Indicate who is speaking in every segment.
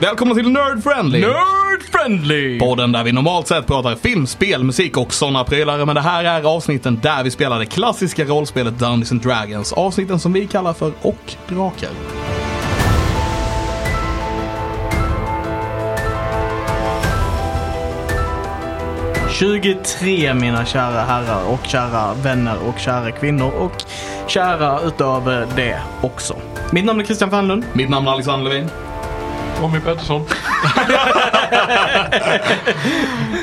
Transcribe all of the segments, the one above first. Speaker 1: Välkomna till Nerd Friendly!
Speaker 2: Nerd friendly!
Speaker 1: Podden där vi normalt sett pratar film, spel, musik och sådana prylar. Men det här är avsnitten där vi spelar det klassiska rollspelet Dungeons and Dragons. Avsnitten som vi kallar för Och Drakar.
Speaker 3: På 23 mina kära herrar och kära vänner och kära kvinnor och kära utöver det också. Mitt namn är Christian Fernlund.
Speaker 1: Mitt namn är Alexander Levin.
Speaker 2: Tommy Pettersson.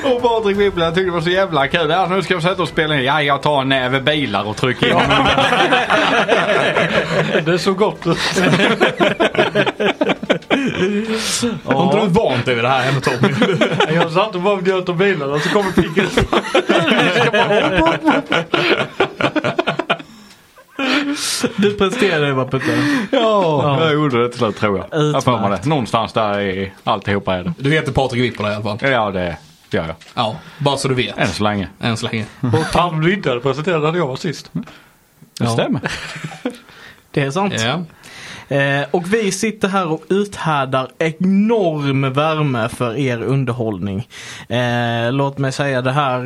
Speaker 4: Och Patrik Wibbla tyckte det var så jävla kul. Ja, nu ska vi sätta och spela in. Ja, jag tar en näve bilar och trycker in.
Speaker 2: Det är så gott.
Speaker 1: Har inte du vant dig vid det här hemma Tommy?
Speaker 2: Jag satt och bara njöt av bilarna så kommer picken.
Speaker 3: Du presterade det bara Putte.
Speaker 4: Ja, jag gjorde det till slut tror jag. Jag får mig det. Någonstans där i alltihopa är det.
Speaker 1: Du heter Patrik Wippola i alla fall.
Speaker 4: Ja, det gör jag.
Speaker 1: Ja, bara så du
Speaker 4: Än
Speaker 1: vet.
Speaker 4: så länge.
Speaker 1: Än så länge.
Speaker 2: Fan du inte hade presenterat hade jag var sist.
Speaker 4: Det
Speaker 1: Ja.
Speaker 4: stämmer.
Speaker 3: Det är sant.
Speaker 1: Ja.
Speaker 3: Eh, och vi sitter här och uthärdar enorm värme för er underhållning. Eh, låt mig säga det här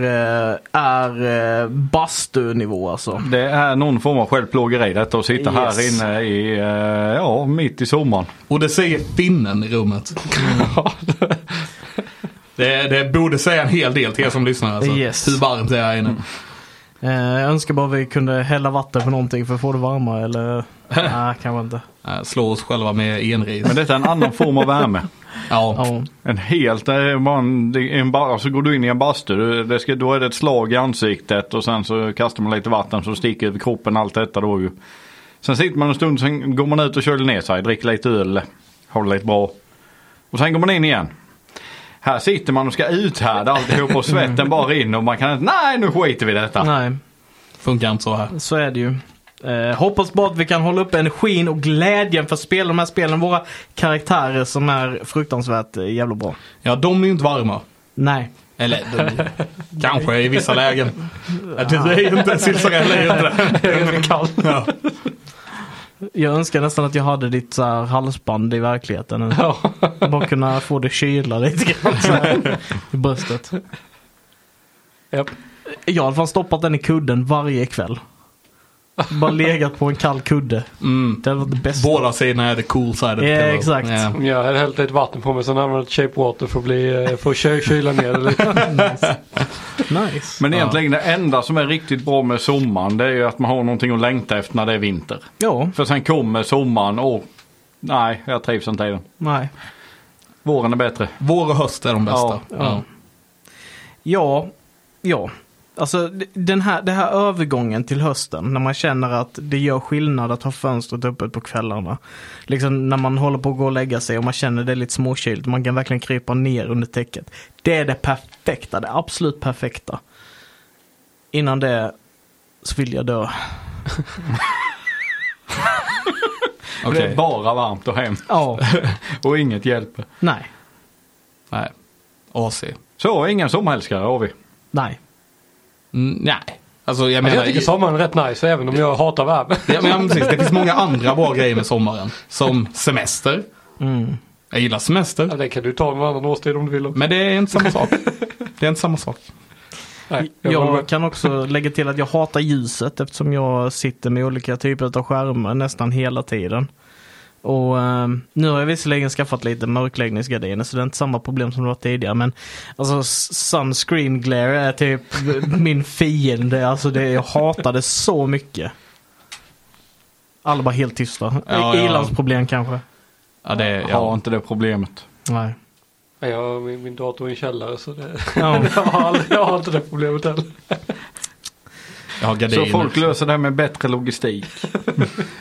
Speaker 3: eh, är eh, bastunivå alltså.
Speaker 4: Det är någon form av självplågeri detta att sitta här
Speaker 3: Yes.
Speaker 4: inne i, eh, ja, mitt i sommaren.
Speaker 1: Och det säger finnen i rummet. Det, det borde säga en hel del till er som lyssnar. Alltså.
Speaker 3: Yes.
Speaker 1: Hur varmt det är här inne.
Speaker 4: Mm.
Speaker 3: Eh, jag önskar bara vi kunde hälla vatten på någonting för att få det varmare eller? Nej, kanske inte.
Speaker 1: Äh, slår oss själva med enris.
Speaker 4: Men detta är en annan form av värme.
Speaker 1: Ja.
Speaker 3: Ja.
Speaker 4: En helt, det är bara en, det är en bar, så går du in i en bastu, det ska, då är det ett slag i ansiktet och sen så kastar man lite vatten som sticker över kroppen allt detta då ju. Sen sitter man en stund, sen går man ut och köler ner sig, dricker lite öl, har det lite bra. Och sen går man in igen. Här sitter man och ska uthärda alltihop och svetten bara rinner och man kan inte, nej nu skiter vi i detta.
Speaker 3: Nej.
Speaker 1: Funkar inte så här.
Speaker 3: Så är det ju. Eh, hoppas bara att vi kan hålla upp energin och glädjen för att spela de här spelen. Våra karaktärer som är fruktansvärt eh, jävla bra.
Speaker 1: Ja, de är ju inte varma.
Speaker 3: Nej.
Speaker 1: Eller de, kanske i vissa lägen. Ja, Det är ju inte, Silsarell är ju inte det.
Speaker 2: Det är ganska kallt.
Speaker 1: Ja.
Speaker 3: Jag önskar nästan att jag hade ditt så här, halsband i verkligheten.
Speaker 2: Ja.
Speaker 3: Bara kunna få det kyla lite grann så här, i bröstet.
Speaker 2: Japp.
Speaker 3: Jag hade fan stoppat den i kudden varje kväll. Bara legat på en kall kudde.
Speaker 1: Mm.
Speaker 3: Det hade varit det bästa.
Speaker 1: Båda sidorna är the cool side of the
Speaker 3: Ja,
Speaker 1: pillow.
Speaker 3: exakt.
Speaker 1: Ja.
Speaker 2: Jag hade hällt lite vatten på mig sen använde jag shape water för att, bli, eh, för att kö- kyla ner det lite.
Speaker 3: Nice.
Speaker 4: Men egentligen det enda som är riktigt bra med sommaren det är ju att man har någonting att längta efter när det är vinter.
Speaker 3: Ja,
Speaker 4: För sen kommer sommaren och nej, jag trivs inte i den.
Speaker 3: nej.
Speaker 4: Våren är bättre.
Speaker 1: Vår och höst är de bästa.
Speaker 4: Ja,
Speaker 1: Ja,
Speaker 3: ja. Ja, ja. Alltså d- den här, den här övergången till hösten när man känner att det gör skillnad att ha fönstret öppet på kvällarna. Liksom när man håller på att gå och lägga sig och man känner det är lite småkyligt. Man kan verkligen krypa ner under täcket. Det är det perfekta, det absolut perfekta. Innan det så vill jag dö.
Speaker 1: Okej.
Speaker 4: Det är bara varmt och hemskt
Speaker 3: Ja,
Speaker 4: och inget hjälper.
Speaker 3: nej,
Speaker 1: Nej. AC.
Speaker 4: Så, ingen sommarälskare har vi.
Speaker 3: nej.
Speaker 1: Mm, nej. Alltså jag menar.
Speaker 2: Jag tycker sommaren är rätt nice även om jag hatar värme.
Speaker 1: ja, men, ja, men precis. Det finns många andra bra grejer med sommaren. Som semester.
Speaker 3: Mm.
Speaker 1: Jag gillar semester.
Speaker 2: Ja, det kan du ta någon annan årstid om du vill. också.
Speaker 1: Men det är inte samma sak. Det är inte samma sak.
Speaker 2: Nej, jag håller med.
Speaker 3: Jag kan också lägga till att jag hatar ljuset eftersom jag sitter med olika typer av skärmar nästan hela tiden. Och eh, nu har jag visserligen skaffat lite mörkläggningsgardiner så det är inte samma problem som det var tidigare men alltså s- sunscreen glare är typ min fiende. Alltså det, jag hatar det så mycket. Alla bara helt tysta.
Speaker 1: Ja, ja.
Speaker 3: Ilandsproblem kanske.
Speaker 1: Ja, det är,
Speaker 4: Har
Speaker 1: ja.
Speaker 4: inte det problemet.
Speaker 3: Nej.
Speaker 2: Nej, Jag har min, min dator i en källare så det,
Speaker 3: Ja.
Speaker 2: jag, har aldrig, jag har inte det problemet heller.
Speaker 1: Jag har
Speaker 4: Så
Speaker 1: gardiner.
Speaker 4: folk löser det här med bättre logistik.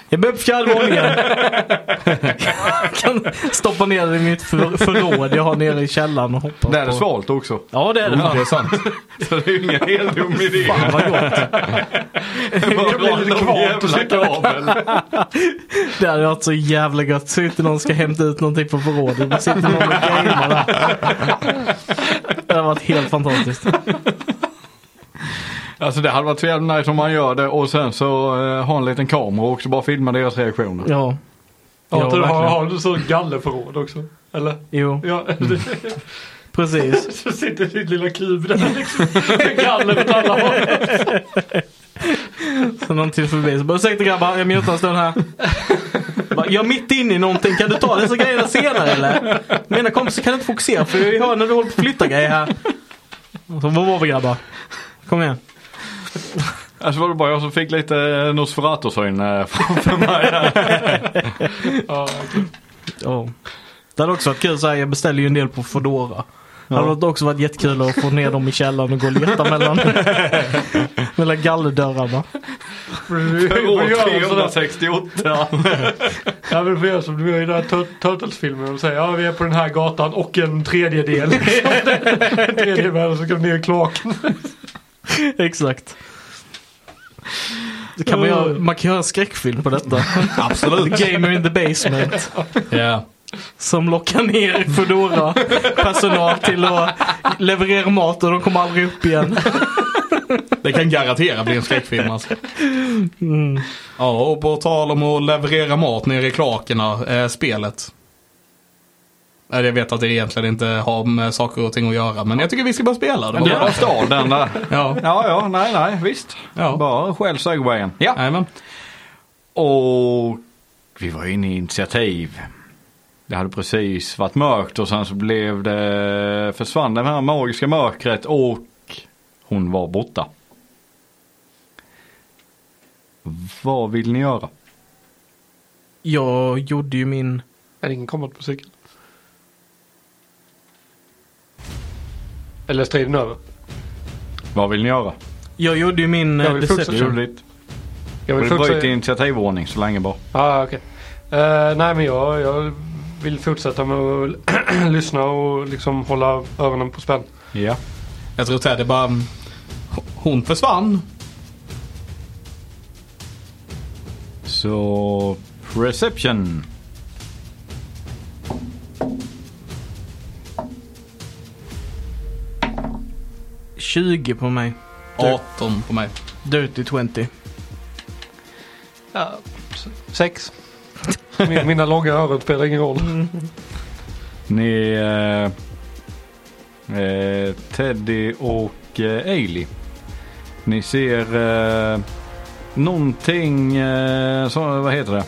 Speaker 3: Jag behöver fjärde våningen. kan stoppa ner det i mitt för- förråd jag har nere i källaren och hoppas
Speaker 4: Där är det
Speaker 3: på.
Speaker 4: svalt också.
Speaker 3: Ja det är det.
Speaker 1: Ja, det är sant.
Speaker 4: Så det är ju ingen helt dum idé.
Speaker 3: Fan vad gott.
Speaker 4: Det blir lite kvant och
Speaker 3: Det hade varit så jävla gött. Så inte någon ska hämta ut någonting på förrådet. Då sitter någon och gamer där. Det hade varit helt fantastiskt.
Speaker 4: Alltså det hade varit så jävla nice om man gör det och sen så eh, ha en liten kamera också bara filma deras reaktioner.
Speaker 3: Ja.
Speaker 2: Har
Speaker 3: Ja,
Speaker 2: inte du- har,
Speaker 3: verkligen.
Speaker 2: har du så gallerförråd också? Eller?
Speaker 3: Jo,
Speaker 2: Ja,
Speaker 3: precis.
Speaker 2: så sitter ditt lilla kub där liksom. Med galler åt alla håll.
Speaker 3: Så någon till förbi så bara ursäkta grabbar, jag mutar en stund här. Bara, Jag är mitt inne i någonting, kan du ta dessa grejerna senare eller? Mina kompisar kan inte fokusera för jag hör när du håller på att flytta grejer här. Och Så, vad var vi grabbar? Kom igen.
Speaker 4: Alltså var det bara jag som fick lite eh, Nosferatu-syn eh, framför mig.
Speaker 2: Ja, okej.
Speaker 3: Ja. Det hade också varit kul så här, jag beställer ju en del på Foodora. Det hade också varit jättekul att få ner dem i källaren och gå och leta mellan, mellan gallerdörrarna.
Speaker 4: År
Speaker 2: göra en sån där-
Speaker 4: 368.
Speaker 2: Ja men du får göra som du gör i den här Tur- Turtles-filmen. De säger ja vi är på den här gatan och en tredjedel. liksom. en tredje världen som kom ner i kloaken.
Speaker 3: Exakt. Det kan man, göra, man kan göra en skräckfilm på detta.
Speaker 1: Absolut.
Speaker 3: Gamer in the basement.
Speaker 1: Ja.
Speaker 3: Som lockar ner foodora personal till att leverera mat och de kommer aldrig upp igen.
Speaker 1: Det kan garantera bli en skräckfilm alltså. Ja, och på tal om att leverera mat nere i klakerna, eh, spelet. Nej, Jag vet att det egentligen inte har med saker och ting att göra, men jag tycker vi ska bara spela det.
Speaker 4: Det var staden där.
Speaker 1: Ja,
Speaker 4: Ja, ja, nej, nej, visst.
Speaker 1: Ja.
Speaker 4: Bara skäll segwayen. Ja.
Speaker 1: jajamän.
Speaker 4: Och vi var inne i initiativ. Det hade precis varit mörkt och sen så blev det, försvann det här magiska mörkret och hon var borta. Vad vill ni göra?
Speaker 3: Jag gjorde ju min...
Speaker 2: Är det ingen kommit på cykeln? Eller striden över?
Speaker 4: Vad vill ni göra?
Speaker 3: Jag gjorde ju min
Speaker 2: Jag
Speaker 3: eh,
Speaker 2: vill
Speaker 4: Det är
Speaker 3: deception.
Speaker 4: roligt.
Speaker 2: Jag
Speaker 4: Vi
Speaker 2: vill fortsätta.
Speaker 4: bryter initiativordning så länge bara.
Speaker 2: Ja, okej. Eh, nej, men jag, jag vill fortsätta med att lyssna och liksom hålla öronen på spänn.
Speaker 4: Ja.
Speaker 1: Jag tror Ted är bara... Hon försvann.
Speaker 4: Så reception.
Speaker 3: Det 20 på mig.
Speaker 1: 18 på mig.
Speaker 3: Dirty 20.
Speaker 2: Ja, sex. Min, mina långa öron spelar ingen roll.
Speaker 4: Ni... Eh, eh, Teddy och eh, Ailey. Ni ser eh, någonting... Eh, så, vad heter det?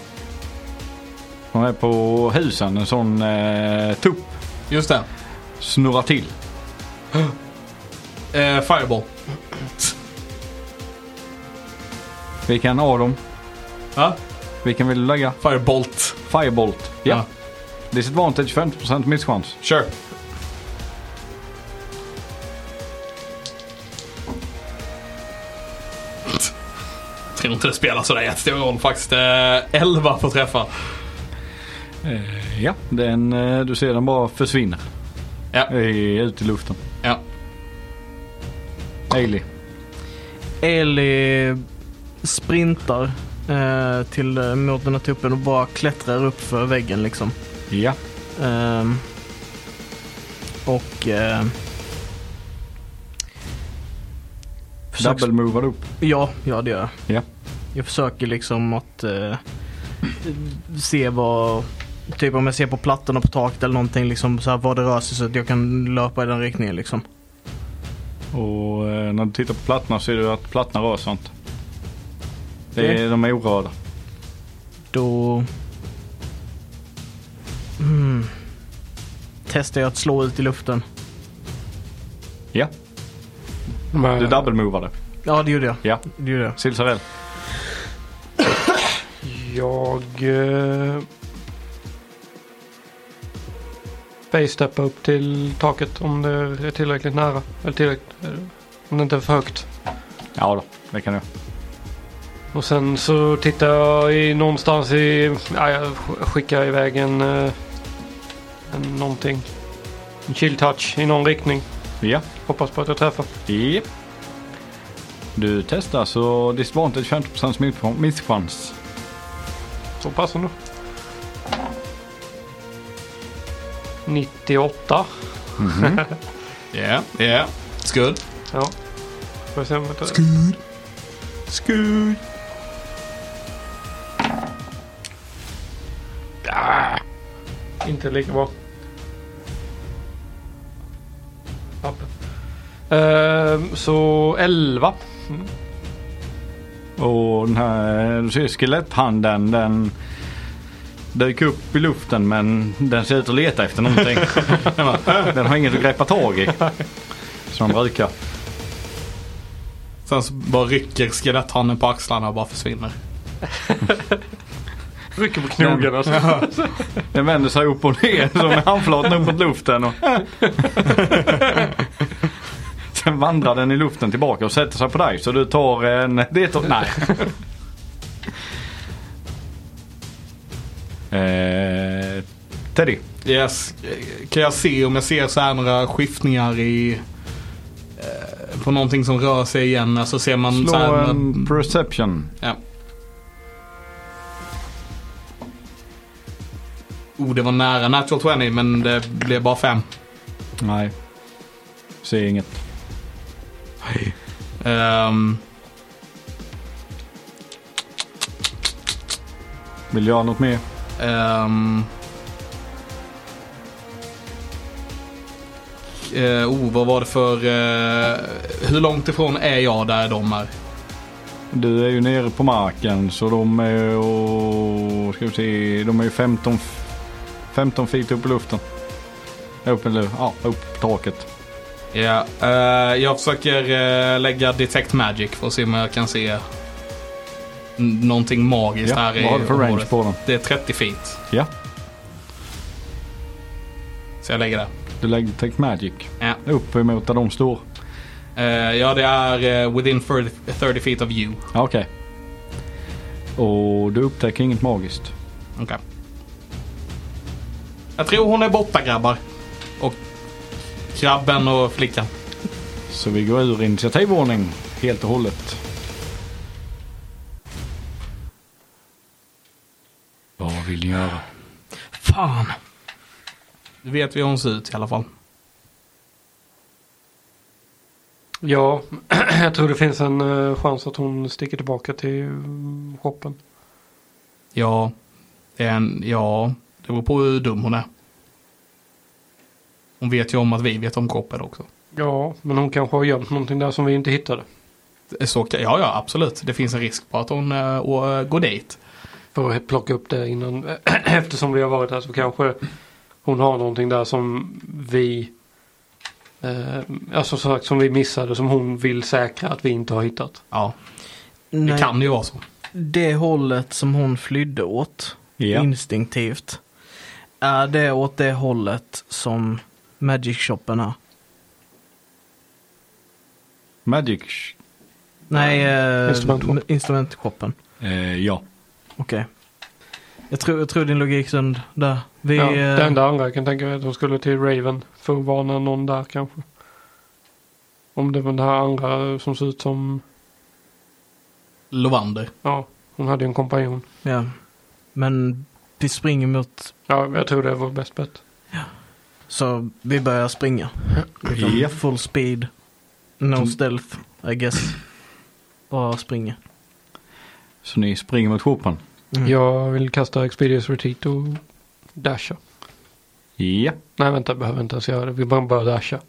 Speaker 4: De är på husen. En sån eh, tupp
Speaker 1: Just det.
Speaker 4: snurrar till.
Speaker 1: Eh, fireball.
Speaker 4: Vilken av dem?
Speaker 1: Ja,
Speaker 4: Vilken vill du lägga?
Speaker 1: firebolt.
Speaker 4: Firebolt. Ja. Det är sitt vanligt 25% misschans.
Speaker 1: Sure. Jag tror inte det spelar sådär jättestor roll faktiskt. Eh, 11 får träffa.
Speaker 4: Ja. Den, eh, du ser den bara försvinner.
Speaker 1: Ja.
Speaker 4: I, ut i luften.
Speaker 1: Ja.
Speaker 4: Ailey.
Speaker 3: Eli sprintar eh, till, eh, mot den här tuppen och bara klättrar upp för väggen liksom.
Speaker 4: Ja.
Speaker 3: Ehm, och... Eh, försöks-
Speaker 4: Double-movad upp.
Speaker 3: Ja, ja det gör jag.
Speaker 4: Ja.
Speaker 3: Jag försöker liksom att eh, se vad, typ om jag ser på plattorna på taket eller någonting, liksom så här vad det rör sig så att jag kan löpa i den riktningen liksom.
Speaker 4: Och eh, när du tittar på plattorna ser du att plattorna rör sig inte. Det är,
Speaker 3: Okej.
Speaker 4: De är orörda.
Speaker 3: Då mm, testar jag att slå ut i luften.
Speaker 4: Ja,
Speaker 2: Men,
Speaker 4: du double-movade.
Speaker 3: Ja, det gjorde jag.
Speaker 4: Ja,
Speaker 3: Det gjorde jag.
Speaker 4: Silsarell.
Speaker 2: Jag... Eh, Facesteppa upp till taket om det är tillräckligt nära. Eller tillräckligt... eh, Om det inte är för högt.
Speaker 4: Ja då, det kan du.
Speaker 2: Och sen så tittar jag i någonstans i... Ja, jag sk- skickar iväg en... eh, en någonting. En chill touch i någon riktning.
Speaker 4: Ja,
Speaker 2: Hoppas på att jag träffar.
Speaker 4: japp. Du testar så disadvantage 50% miss- misschans.
Speaker 2: Så pass ändå. 98.
Speaker 1: Yeah, yeah. It's good.
Speaker 2: Ja. Får jag se om jag tar-
Speaker 1: Skud.
Speaker 2: Inte lika bra. Ehm, så 11.
Speaker 4: Och den här eh, du ser skeletthanden den dök upp i luften men den ser ut att leta efter någonting. Den bara, den har inget att greppa tag i. Som de brukar.
Speaker 1: Sen så bara rycker skeletthanden på axlarna och bara försvinner.
Speaker 2: Rycker på knogen alltså.
Speaker 4: Den vänder sig upp och ner som med handflatan upp mot luften. Och... Sen vandrar den i luften tillbaka och sätter sig på dig så du tar en... Det tar... Nej. Eh, Teddy.
Speaker 1: Yes. Kan jag se om jag ser så här några skiftningar i... eh, På någonting som rör sig igen. Alltså ser man så
Speaker 4: Slå
Speaker 1: här... mm.
Speaker 4: en perception.
Speaker 1: Ja. Oh, det var nära natural 20 men det blev bara 5.
Speaker 4: Nej. Ser inget.
Speaker 1: Ehm,
Speaker 4: Vill du göra något mer?
Speaker 1: ehm. Eh, oh, vad var det för... eh, hur långt ifrån är jag där de är?
Speaker 4: Du är ju nere på marken så de är ju... och- Ska vi se. De är ju 15, f- 15 feet upp i luften. Upp i lu- Ja, upp på taket.
Speaker 1: Ja, eh, jag försöker eh, lägga Detect Magic för att se om jag kan se n- någonting magiskt här i
Speaker 4: vad har du för range
Speaker 1: området.
Speaker 4: på den?
Speaker 1: Det är 30 feet.
Speaker 4: Ja,
Speaker 1: Så jag lägger det.
Speaker 4: du lägger Tech Magic
Speaker 1: Ja.
Speaker 4: upp emot där de står.
Speaker 1: Eh, ja, det är eh, within 30, 30 feet of you.
Speaker 4: Ja, Okej. Och du upptäcker inget magiskt.
Speaker 1: Okej. Jag tror hon är borta grabbar. Och krabben och flickan.
Speaker 4: Så vi går ur initiativordning helt och hållet. Vad vill ni göra?
Speaker 3: Fan.
Speaker 1: Nu vet vi hur hon ser ut i alla fall.
Speaker 2: Ja, jag tror det finns en eh, chans att hon sticker tillbaka till mm, shoppen.
Speaker 1: Ja, det är en, ja, det beror på hur dum hon är. Hon vet ju om att vi vet om kroppen också.
Speaker 2: Ja, men hon kanske har gömt någonting där som vi inte hittade.
Speaker 1: Så, kan- ja, ja, absolut. Det finns en risk på att hon eh, å- går dit.
Speaker 2: För att plocka upp det innan. Eftersom vi har varit här så kanske hon har någonting där som vi eh, alltså som sagt som vi missade som hon vill säkra att vi inte har hittat.
Speaker 1: Ja, det
Speaker 3: Nej,
Speaker 1: kan ju vara så.
Speaker 3: Det hållet som hon flydde åt
Speaker 4: Ja.
Speaker 3: instinktivt. Är det åt det hållet som Magic Shoppen är?
Speaker 4: Magic?
Speaker 3: Nej, eh,
Speaker 2: Instrumentshoppen.
Speaker 3: m- instrumentshoppen.
Speaker 4: Eh, ja.
Speaker 3: Okej. Jag, tror, jag tror din logik sund där. Vi,
Speaker 2: ja, det
Speaker 3: eh,
Speaker 2: enda andra jag kan tänka mig är att hon skulle till Raven för att varna någon där kanske. Om det var den här andra som ser ut som,
Speaker 1: Lovander.
Speaker 2: ja, hon hade ju en kompanjon.
Speaker 3: ja. Men vi springer mot,
Speaker 2: Ja, jag tror det var bäst bett.
Speaker 3: så vi börjar springa. Liksom,
Speaker 4: Ja. Mm.
Speaker 3: Full speed. No stealth, I guess. Bara springa.
Speaker 4: Så ni springer mot shoppen?
Speaker 3: Mm.
Speaker 2: Jag vill kasta Expedious Retreat och dasha.
Speaker 4: Ja.
Speaker 2: Nej, vänta, jag behöver inte ens göra det. Vi bara börjar dasha.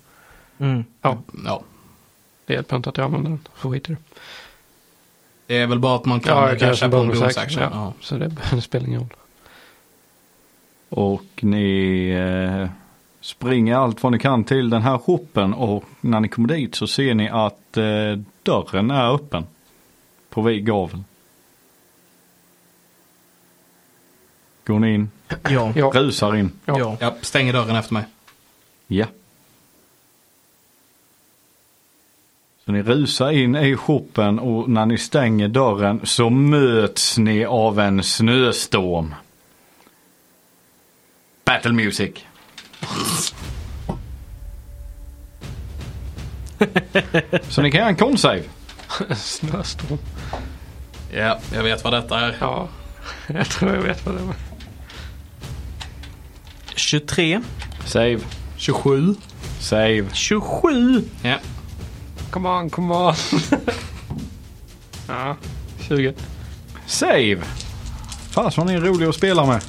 Speaker 3: Mm.
Speaker 1: Ja.
Speaker 2: Det hjälper inte att jag använder den. Så skiter det.
Speaker 1: Det är väl bara att man kan
Speaker 2: Ja, jag kan
Speaker 1: casha
Speaker 2: göra
Speaker 1: på en
Speaker 2: bonus
Speaker 1: bonus
Speaker 2: action.
Speaker 1: action. Ja.
Speaker 2: Ja. Så det, det spelar ingen roll.
Speaker 4: Och ni eh, springer allt vad ni kan till den här shoppen och när ni kommer dit så ser ni att eh, dörren är öppen. På vid gaveln. Går ni in,
Speaker 3: Ja.
Speaker 2: Ja,
Speaker 4: rusar in.
Speaker 2: Ja.
Speaker 3: ja.
Speaker 1: Jag stänger dörren efter mig.
Speaker 4: Ja. Så ni rusar in i shoppen och när ni stänger dörren så möts ni av en snöstorm. Battle music. så ni kan göra en con-save.
Speaker 2: snöstorm.
Speaker 1: Ja, jag vet vad detta är.
Speaker 2: Ja, jag tror jag vet vad det var.
Speaker 3: 23.
Speaker 4: Save,
Speaker 1: 27.
Speaker 4: save.
Speaker 3: 27!
Speaker 1: Ja.
Speaker 2: Come on, come on. ja, 20.
Speaker 4: Save! Fan vad ni är roliga att spela med.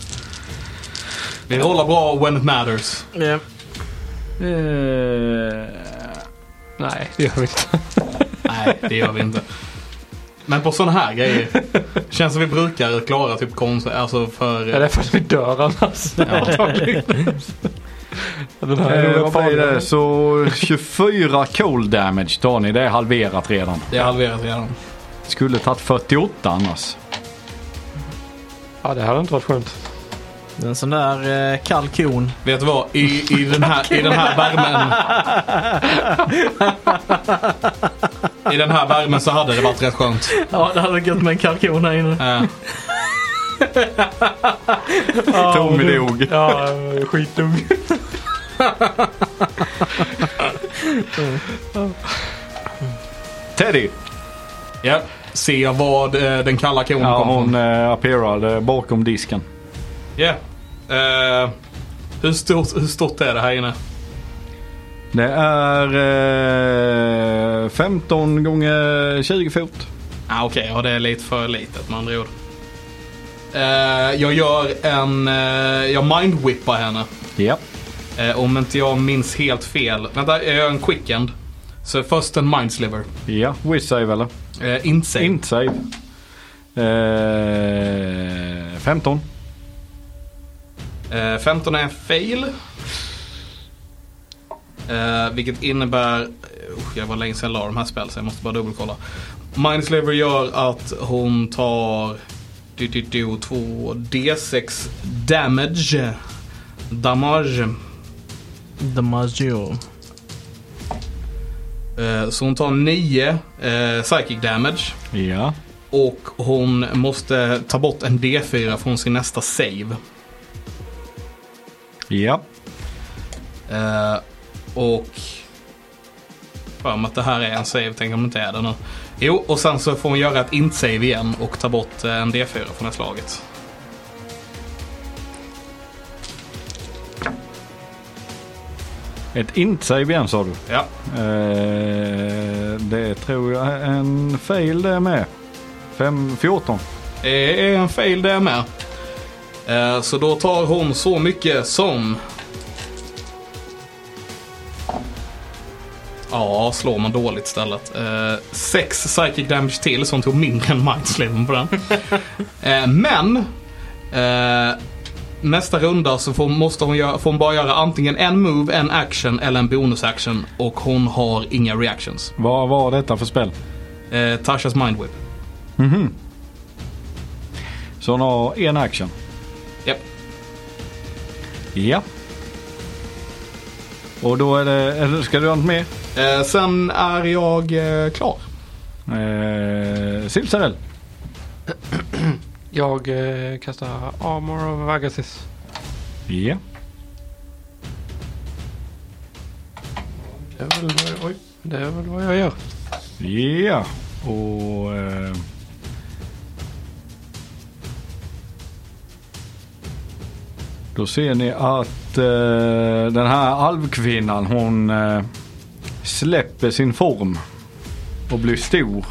Speaker 1: Vi rollar bra when it matters.
Speaker 3: Ja.
Speaker 4: Eh,
Speaker 2: Nej, det gör vi inte.
Speaker 1: Nej, det gör vi inte. Men på sådana här grejer känns som vi brukar klara typ konst, alltså för...
Speaker 2: Ja, det är för att vi dör annars. antagligen. Den här är
Speaker 4: Eh,
Speaker 2: nog
Speaker 4: vad blir
Speaker 2: farlig.
Speaker 4: det? Så 24 cold damage tar ni. Det är halverat redan.
Speaker 1: Det är halverat redan.
Speaker 4: Skulle tagit 48 annars.
Speaker 2: Ja, det hade inte varit skönt.
Speaker 3: Det är en sån där eh, kall kon.
Speaker 1: Vet du vad? I, i, den, här, i den här värmen... I den här värmen så hade det varit rätt skönt.
Speaker 3: Ja, det hade gått med en kall kon här inne.
Speaker 1: Eh,
Speaker 4: Tommy dog.
Speaker 2: Ja, skitdum.
Speaker 4: Teddy.
Speaker 1: ja. Se vad eh, den kalla konen
Speaker 4: Ja,
Speaker 1: kom
Speaker 4: hon
Speaker 1: från.
Speaker 4: eh, appearade bakom disken.
Speaker 1: Ja. Eh, hur, stort, hur stort är det här inne?
Speaker 4: Det är eh, 15 gånger 20 fot.
Speaker 1: Ah, Okej, ja, det är lite för litet med andra ord. Eh, jag gör en... Eh, jag mindwhippar henne.
Speaker 4: Ja.
Speaker 1: Eh, om inte jag minns helt fel. Vänta, jag gör en quickend. Så först en mindsliver.
Speaker 4: Ja, wish save eller?
Speaker 1: Eh, insane.
Speaker 4: Int save. Eh, 15.
Speaker 1: Eh, 15 är en fail. Eh, vilket innebär... eh, Usch, jag var länge sedan jag la de här spelen så jag måste bara dubbelkolla. Mindslaver gör att hon tar... Du, du, du, 2 D6 damage. Damage.
Speaker 3: The Maggio.
Speaker 1: Eh, så hon tar 9 eh, psychic damage.
Speaker 4: Ja.
Speaker 1: Och hon måste ta bort en D4 från sin nästa save.
Speaker 4: Ja.
Speaker 1: Eh, och för mig att det här är en save, tänk om det inte är det nu. Jo, och sen så får hon göra ett int-save igen och ta bort eh, en D4 från det slaget.
Speaker 4: Ett int save igen sa du.
Speaker 1: Ja,
Speaker 4: Eh, det tror jag är en fail det med. 5, 14.
Speaker 1: det är en fail det med. Eh, så då tar hon så mycket som... Ja, slår man dåligt istället. Eh, sex psychic damage till, så hon tog mindre än mindsliven på den. Eh, men eh, nästa runda så får, måste hon, göra, får hon bara göra antingen en move, en action eller en bonus action. Och hon har inga reactions.
Speaker 4: Vad var detta för spel?
Speaker 1: Eh, Tashas mindwhip.
Speaker 4: Så hon har en action.
Speaker 1: Japp.
Speaker 4: Ja. Och då är det, eller ska du ha något mer?
Speaker 1: Eh, sen är jag eh, klar.
Speaker 4: Eh, Silsarell.
Speaker 2: Jag eh, kastar Armor of Agathis.
Speaker 4: Ja.
Speaker 2: Det är väl vad jag, oj, det är väl vad jag gör.
Speaker 4: Ja. Och... Eh, då ser ni att eh, den här alvkvinnan hon eh, släpper sin form och blir stor.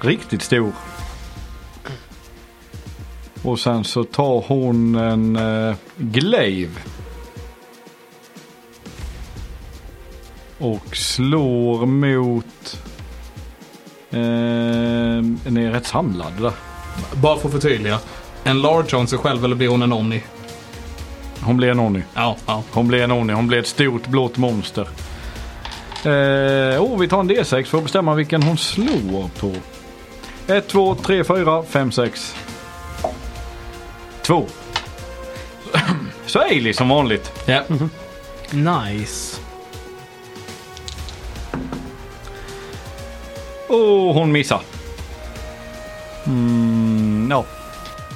Speaker 4: Riktigt stor. Och sen så tar hon en eh, glaive. Och slår mot... Eh, ni är rätt samlade där.
Speaker 1: Bara för att förtydliga. En large on sig själv eller blir hon en omni?
Speaker 4: Hon blir en Onny.
Speaker 1: Ja, ja.
Speaker 4: Hon blir en Onny. Hon blir ett stort blått monster. Eh, oh, vi tar en D6 för att bestämma vilken hon slår på. 1, 2, 3, 4, 5, 6. 2. Så Ailey som vanligt.
Speaker 1: Ja.
Speaker 3: Nice.
Speaker 4: Och hon missar. Mm, ja.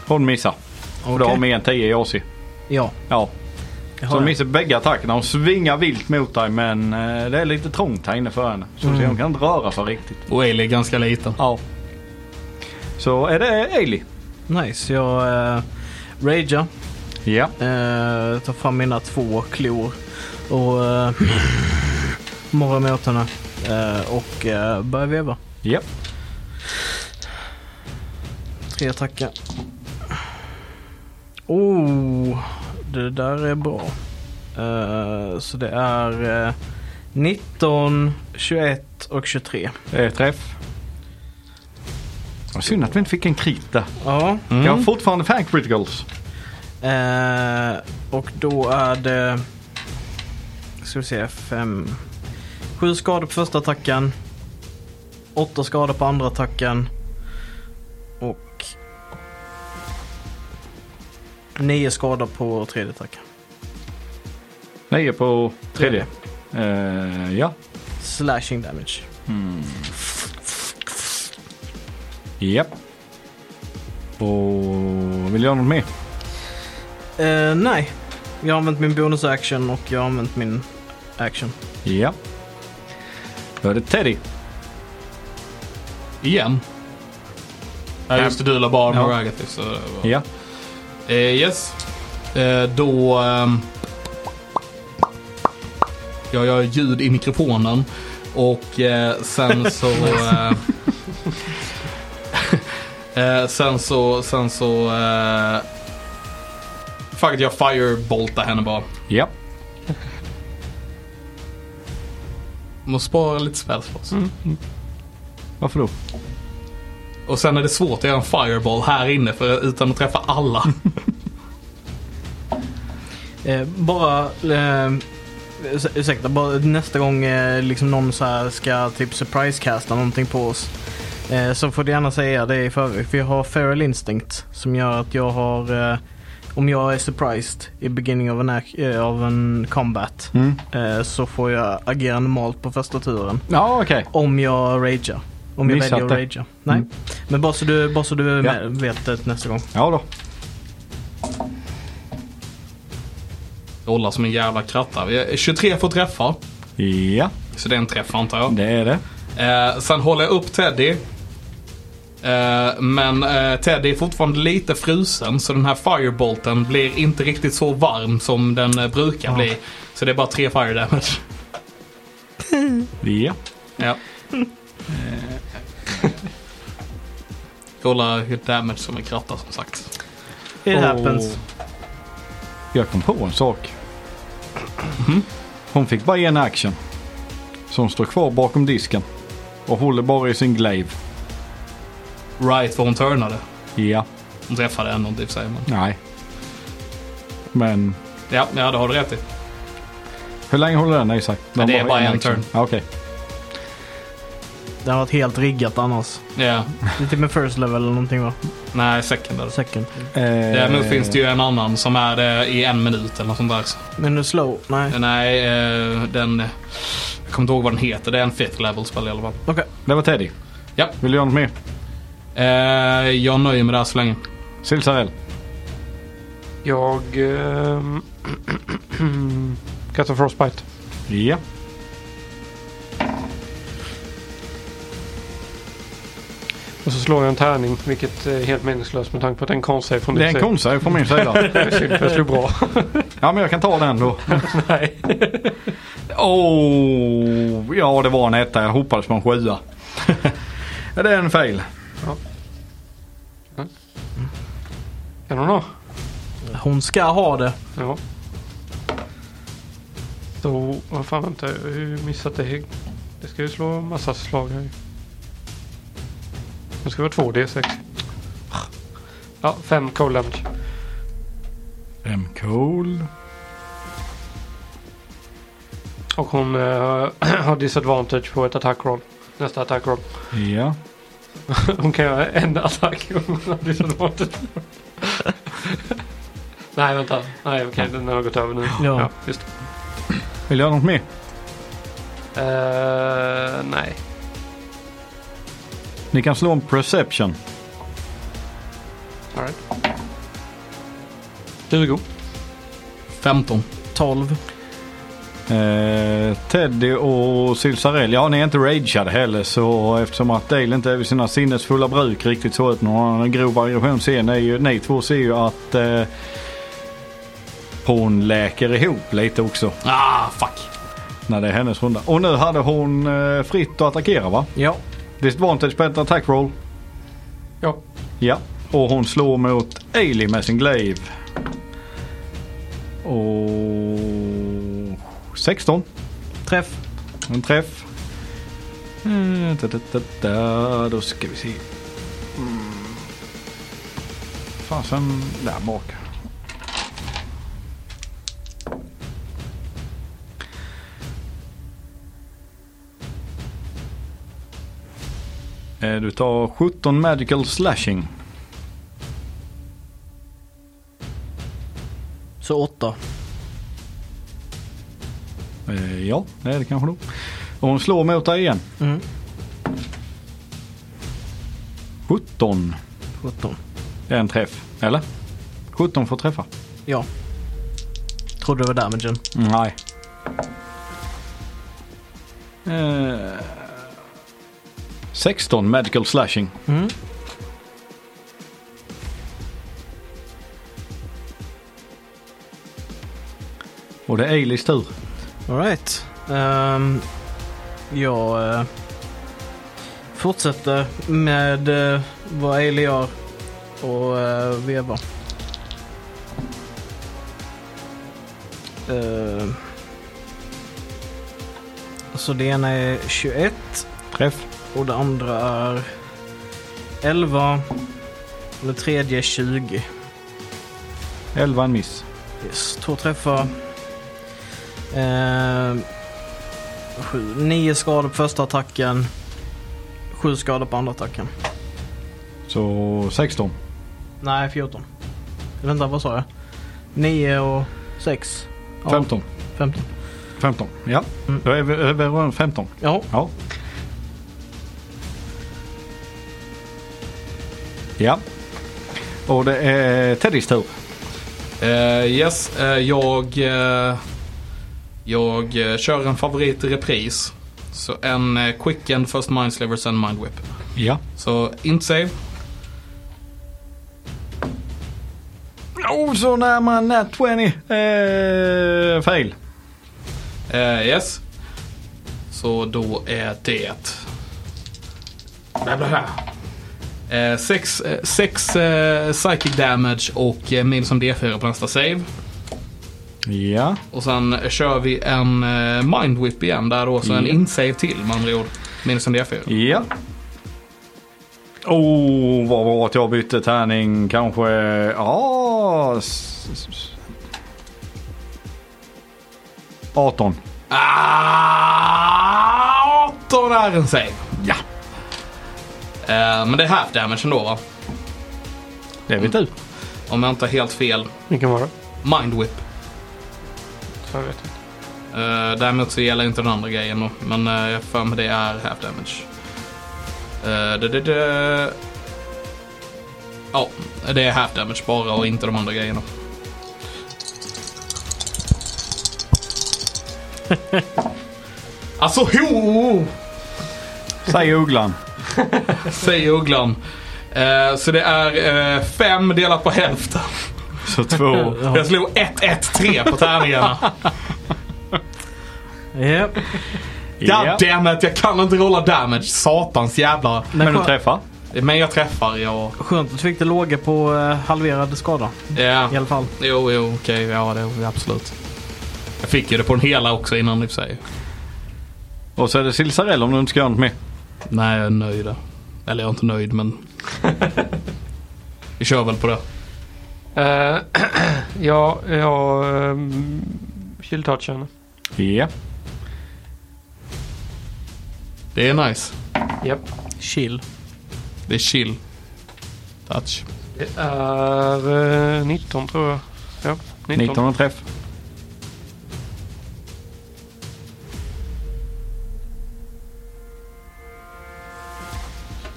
Speaker 4: Hon missar. Och då har
Speaker 3: Okej.
Speaker 4: hon mer än 10 i AC.
Speaker 3: Ja.
Speaker 4: Ja.
Speaker 3: det har
Speaker 4: Så hon
Speaker 3: jag.
Speaker 4: missar bägge attackerna. Hon svingar vilt mot dig men eh, det är lite trångt här inne för henne. Så mm. hon kan inte röra sig riktigt.
Speaker 1: Och Ailey är ganska liten.
Speaker 4: Ja. Så är det Ailey.
Speaker 3: Nice. Jag eh, ragear.
Speaker 4: Ja.
Speaker 3: Eh, tar fram mina två klor och eh, morrar mig åt henne. Eh, och eh, börjar veva.
Speaker 4: Ja.
Speaker 3: Tre attacker. Oh, det där är bra. Eh, så det är eh, 19, 21 och 23.
Speaker 4: Eh, träff. Vad synd att vi inte fick en krit där.
Speaker 3: Ja.
Speaker 4: Jag har fortfarande fan criticals.
Speaker 3: Eh, och då är det... Ska vi se, fem... Sju skador på första attacken. Åtta skador på andra attacken. Och... Nio skador på tredje attacken.
Speaker 4: Nio på tredje. Eh, ja.
Speaker 3: Slashing damage.
Speaker 4: Japp. Och vill jag göra något mer?
Speaker 3: Eh, nej. Jag har använt min bonus action och jag har använt min action.
Speaker 4: Ja. Då är det Teddy.
Speaker 1: Igen. Ja, just det. Du la bara några agatives. så det var-
Speaker 4: Ja.
Speaker 1: Eh, yes. Eh, då... ehm, jag gör ljud i mikrofonen och eh, sen så... Eh, eh, sen så... Sen så... Eh, fuck it, jag fireboltar henne bara.
Speaker 4: Ja.
Speaker 1: Måste spara lite spells för oss.
Speaker 4: Varför då?
Speaker 1: Och sen är det svårt att göra en fireball här inne för, utan att träffa alla.
Speaker 3: Eh, bara, eh, urs- ursäkta, bara nästa gång eh, liksom någon så här ska typ surprise-casta någonting på oss. Eh, så får du gärna säga det i förväg. För jag har feral instinct som gör att jag har, eh, om jag är surprised i beginning of an, ac- eh, of an combat
Speaker 4: Mm.
Speaker 3: eh, så får jag agera normalt på första turen.
Speaker 4: Ja, okej.
Speaker 3: Om jag ragear. Om jag
Speaker 4: Missat
Speaker 3: väljer att
Speaker 4: det.
Speaker 3: ragea. Nej.
Speaker 4: Mm.
Speaker 3: Men bara så du, bara så du är
Speaker 4: Ja.
Speaker 3: med, vet det nästa gång.
Speaker 4: Ja då.
Speaker 1: Rollar som en jävla kratta. Vi- 23 får träffa.
Speaker 4: Ja,
Speaker 1: Så det är en träff antar jag.
Speaker 4: det är det.
Speaker 1: Eh, sen håller jag upp Teddy. Eh, men eh, Teddy är fortfarande lite frusen så den här firebolten blir inte riktigt så varm som den eh, brukar bli. Så det är bara tre fire damage.
Speaker 4: Ja.
Speaker 1: Ja. Eh, Kolla hur damage som är kratta som sagt.
Speaker 3: It
Speaker 4: Och-
Speaker 3: happens.
Speaker 4: Jag kom på en sak. Mhm. Hon fick bara en action. Så hon står kvar bakom disken. Och håller bara i sin glaive.
Speaker 1: Right för hon turnade.
Speaker 4: Ja.
Speaker 1: Hon träffade en någon typ säger man.
Speaker 4: Nej. Men
Speaker 1: Ja, ja det har du rätt i.
Speaker 4: hur länge håller den i sig? Den
Speaker 1: det är bara en
Speaker 4: action.
Speaker 1: turn.
Speaker 4: Ja, Okej.
Speaker 3: Det har varit helt riggat annars.
Speaker 1: Ja.
Speaker 3: Det är typ en first level eller någonting va?
Speaker 1: Nej, second eller
Speaker 3: Second.
Speaker 1: Däremot
Speaker 4: Eh,
Speaker 1: finns det ju en annan som är det i en minut eller något sånt där.
Speaker 3: Men nu slow? Nej.
Speaker 1: Nej, eh, den... Jag kommer inte ihåg vad den heter. Det är en fifth level spel i alla fall.
Speaker 3: Okej.
Speaker 4: Det var Teddy.
Speaker 1: Ja.
Speaker 4: Vill du göra något mer?
Speaker 1: Eh, jag nöjer mig där så länge.
Speaker 4: Silsarell.
Speaker 2: Jag... Eh, kan ta Frostbite.
Speaker 4: Ja.
Speaker 2: Och så slår jag en tärning, vilket är helt meningslöst med tanke på att det är en konstig från
Speaker 4: Det är en
Speaker 2: konst.
Speaker 4: konstig från min sida.
Speaker 2: Jag slog bra.
Speaker 4: Ja men jag kan ta den då.
Speaker 2: Nej.
Speaker 4: Oh, ja det var en etta. Jag hoppades på en sjua. Ja, det är en fail.
Speaker 2: Är det någon?
Speaker 3: Hon ska ha det.
Speaker 2: Ja. Då, vad fan vänta, jag har ju missat det. Det ska ju slå massa slag här. Det ska vara 2D6. Ja, 5 cold damage.
Speaker 4: Fem cool.
Speaker 2: Och hon eh, har disadvantage på ett attack roll. Nästa attack roll.
Speaker 4: Ja.
Speaker 2: Hon kan göra en attack om hon har disadvantage. Nej, vänta. Nej, okej, den har gått över nu.
Speaker 3: Ja.
Speaker 2: just
Speaker 4: Vill du göra något mer?
Speaker 2: det. Eh, nej.
Speaker 4: Ni kan slå en perception.
Speaker 2: All right. 20.
Speaker 1: 15.
Speaker 3: 12.
Speaker 4: Eh, Teddy och Silsarell, ja ni är inte rageade heller så eftersom att Dale inte är vid sina sinnesfulla bruk riktigt så ut någon annan grov aggression ser ni ju, ni två ser ju att eh, hon läker ihop lite också
Speaker 1: Ah, fuck.
Speaker 4: när det är hennes runda. Och nu hade hon eh, fritt att attackera va?
Speaker 3: Ja.
Speaker 4: Disadvantage på ett attack roll.
Speaker 2: Ja.
Speaker 4: Ja, och hon slår mot Ailey med sin glaive. Och 16.
Speaker 3: Träff.
Speaker 4: En träff. Eh, ta, ta, ta, ta. Då ska vi se. Mm. Fasen, där bak. Eh, Du tar 17 magical slashing.
Speaker 3: Så åtta.
Speaker 4: Eh, Ja, det är det kanske då. Och hon slår mot dig igen.
Speaker 3: Mm.
Speaker 4: 17.
Speaker 3: 17.
Speaker 4: Det är en träff, eller? 17 får träffa.
Speaker 3: Ja. Trodde det var damagen.
Speaker 4: Nej. Eh, 16 medical slashing.
Speaker 3: Mm.
Speaker 4: Och det är Eilis tur.
Speaker 3: Alright. Um, jag eh, fortsätter med eh, vad Ailey gör och uh, vevar. Eh, så det ena är 21
Speaker 4: Träff.
Speaker 3: och det andra är 11 och det tredje är 20.
Speaker 4: 11 en miss.
Speaker 3: Yes, två träffar. Eh, sju, nio skador på första attacken. Sju skador på andra attacken.
Speaker 4: Så 16.
Speaker 3: Nej, 14. Vänta, vad sa jag? Nio och sex. Ja,
Speaker 4: 15.
Speaker 3: 15.
Speaker 4: 15. Ja,
Speaker 3: Mm.
Speaker 4: då är vi över runt 15.
Speaker 3: Ja,
Speaker 4: Ja. Ja. Och det är Teddys tur.
Speaker 1: Eh, yes, eh, jag, eh, jag eh, kör en favorit i repris. Så en eh, quick end, first mind sliver, sen mind whip.
Speaker 4: Ja.
Speaker 1: Så inte save.
Speaker 4: Oh, så när man är 20. Eh, fail.
Speaker 1: Eh, yes. Så då är det... Bla, bla, bla. Eh, sex eh, sex eh, psychic damage och eh, min som D4 på nästa save.
Speaker 4: Ja.
Speaker 1: Och sen kör vi en eh, mind whip igen där då, så en
Speaker 4: Ja.
Speaker 1: insave till med andra ord. Minus en D4.
Speaker 4: Ja. Oh, vad bra att jag bytte tärning. Kanske... Ja... s- s- s- 18.
Speaker 1: Ah, 18 är en save.
Speaker 4: Ja.
Speaker 1: Eh, men det är half damage ändå va?
Speaker 4: Det är vi du.
Speaker 1: Om jag inte har helt fel.
Speaker 2: Vilken var det?
Speaker 1: Mind whip.
Speaker 2: Så jag vet inte.
Speaker 1: Eh, däremot så gäller inte den andra grejen då, men eh, jag har för mig det är half damage. Eh, det, det, det. Ja, det är half damage bara och inte de andra grejerna. alltså ho!
Speaker 4: Säger ugglan.
Speaker 1: Säger ugglan. Eh, så det är eh, fem delat på hälften.
Speaker 4: Så två.
Speaker 1: Jag slog 1-1-3 på tärningarna.
Speaker 3: Japp.
Speaker 1: God damn it, jag kan inte rolla damage. Satans jävla...
Speaker 4: Men du träffar.
Speaker 1: Men jag träffar, ja.
Speaker 3: Skönt att du fick det låga på eh, halverad skada
Speaker 1: Ja,
Speaker 3: i alla fall.
Speaker 1: jo, jo, okej, ja, det, absolut. Jag fick ju det på den hela också innan i och för sig.
Speaker 4: Och så är det Silsarell om du inte ska göra något mer.
Speaker 1: Nej, jag är nöjd. Eller jag är inte nöjd, men... Vi kör väl på det.
Speaker 2: Eh, ja, jag... Um, Shieldtouch henne.
Speaker 4: Ja.
Speaker 1: Det är nice.
Speaker 2: Japp.
Speaker 3: Chill.
Speaker 1: Det är chill. Touch.
Speaker 2: Det är eh, 19 tror jag. Ja, 19.
Speaker 4: 19 och träff.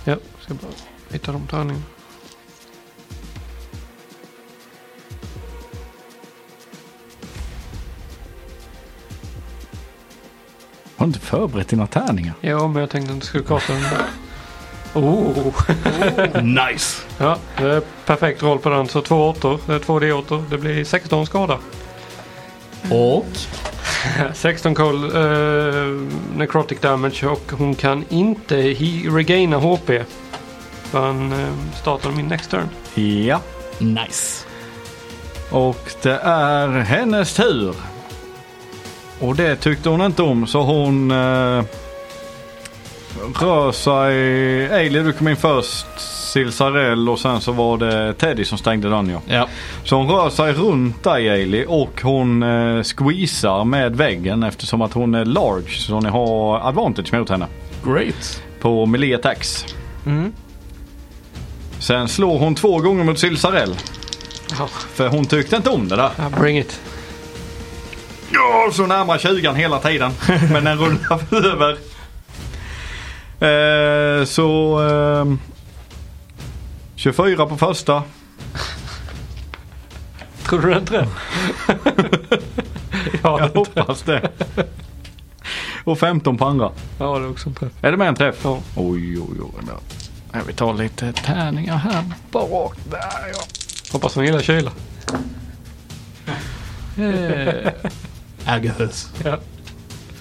Speaker 2: Ja, ska bara hitta de tärningarna.
Speaker 4: Har du inte förberett dina tärningar?
Speaker 2: Ja, men jag tänkte inte skulle kasta den. Oh.
Speaker 1: Nice!
Speaker 2: Ja, det är perfekt roll på den. Så två åttor. Det är två D8. Det blir 16 skada.
Speaker 1: Och?
Speaker 2: 16 cold eh, necrotic damage och hon kan inte he- regaina HP. Förrän uh, startar min next turn.
Speaker 4: Ja.
Speaker 1: Nice.
Speaker 4: Och det är hennes tur. Och det tyckte hon inte om så hon eh, rör sig... Ailey du kom in först, Silsarell och sen så var det Teddy som stängde dörren ja.
Speaker 1: Ja.
Speaker 4: Så hon rör sig runt dig Ailey och hon eh, squeezar med väggen eftersom att hon är large så ni har advantage mot henne
Speaker 1: Great.
Speaker 4: på melee attacks.
Speaker 3: Mm.
Speaker 4: Sen slår hon två gånger mot Silsarell
Speaker 2: Ja,
Speaker 4: för hon tyckte inte om det där.
Speaker 2: ja, bring it.
Speaker 4: Ja, så närmar 20 hela tiden. Men den rullar över. Eh, så... ehm, 24 på första.
Speaker 2: Tror du inte det?
Speaker 4: Jag
Speaker 2: ja, det-
Speaker 4: hoppas det. Och 15 på andra.
Speaker 2: ja, det är också en träff.
Speaker 4: Är det med en träff?
Speaker 2: Ja.
Speaker 4: Oj, oj, oj. Ja. Ja, Vi tar lite tärningar här bak. Där ja.
Speaker 2: Hoppas hon gillar kyla.
Speaker 1: Agathus.
Speaker 2: Ja.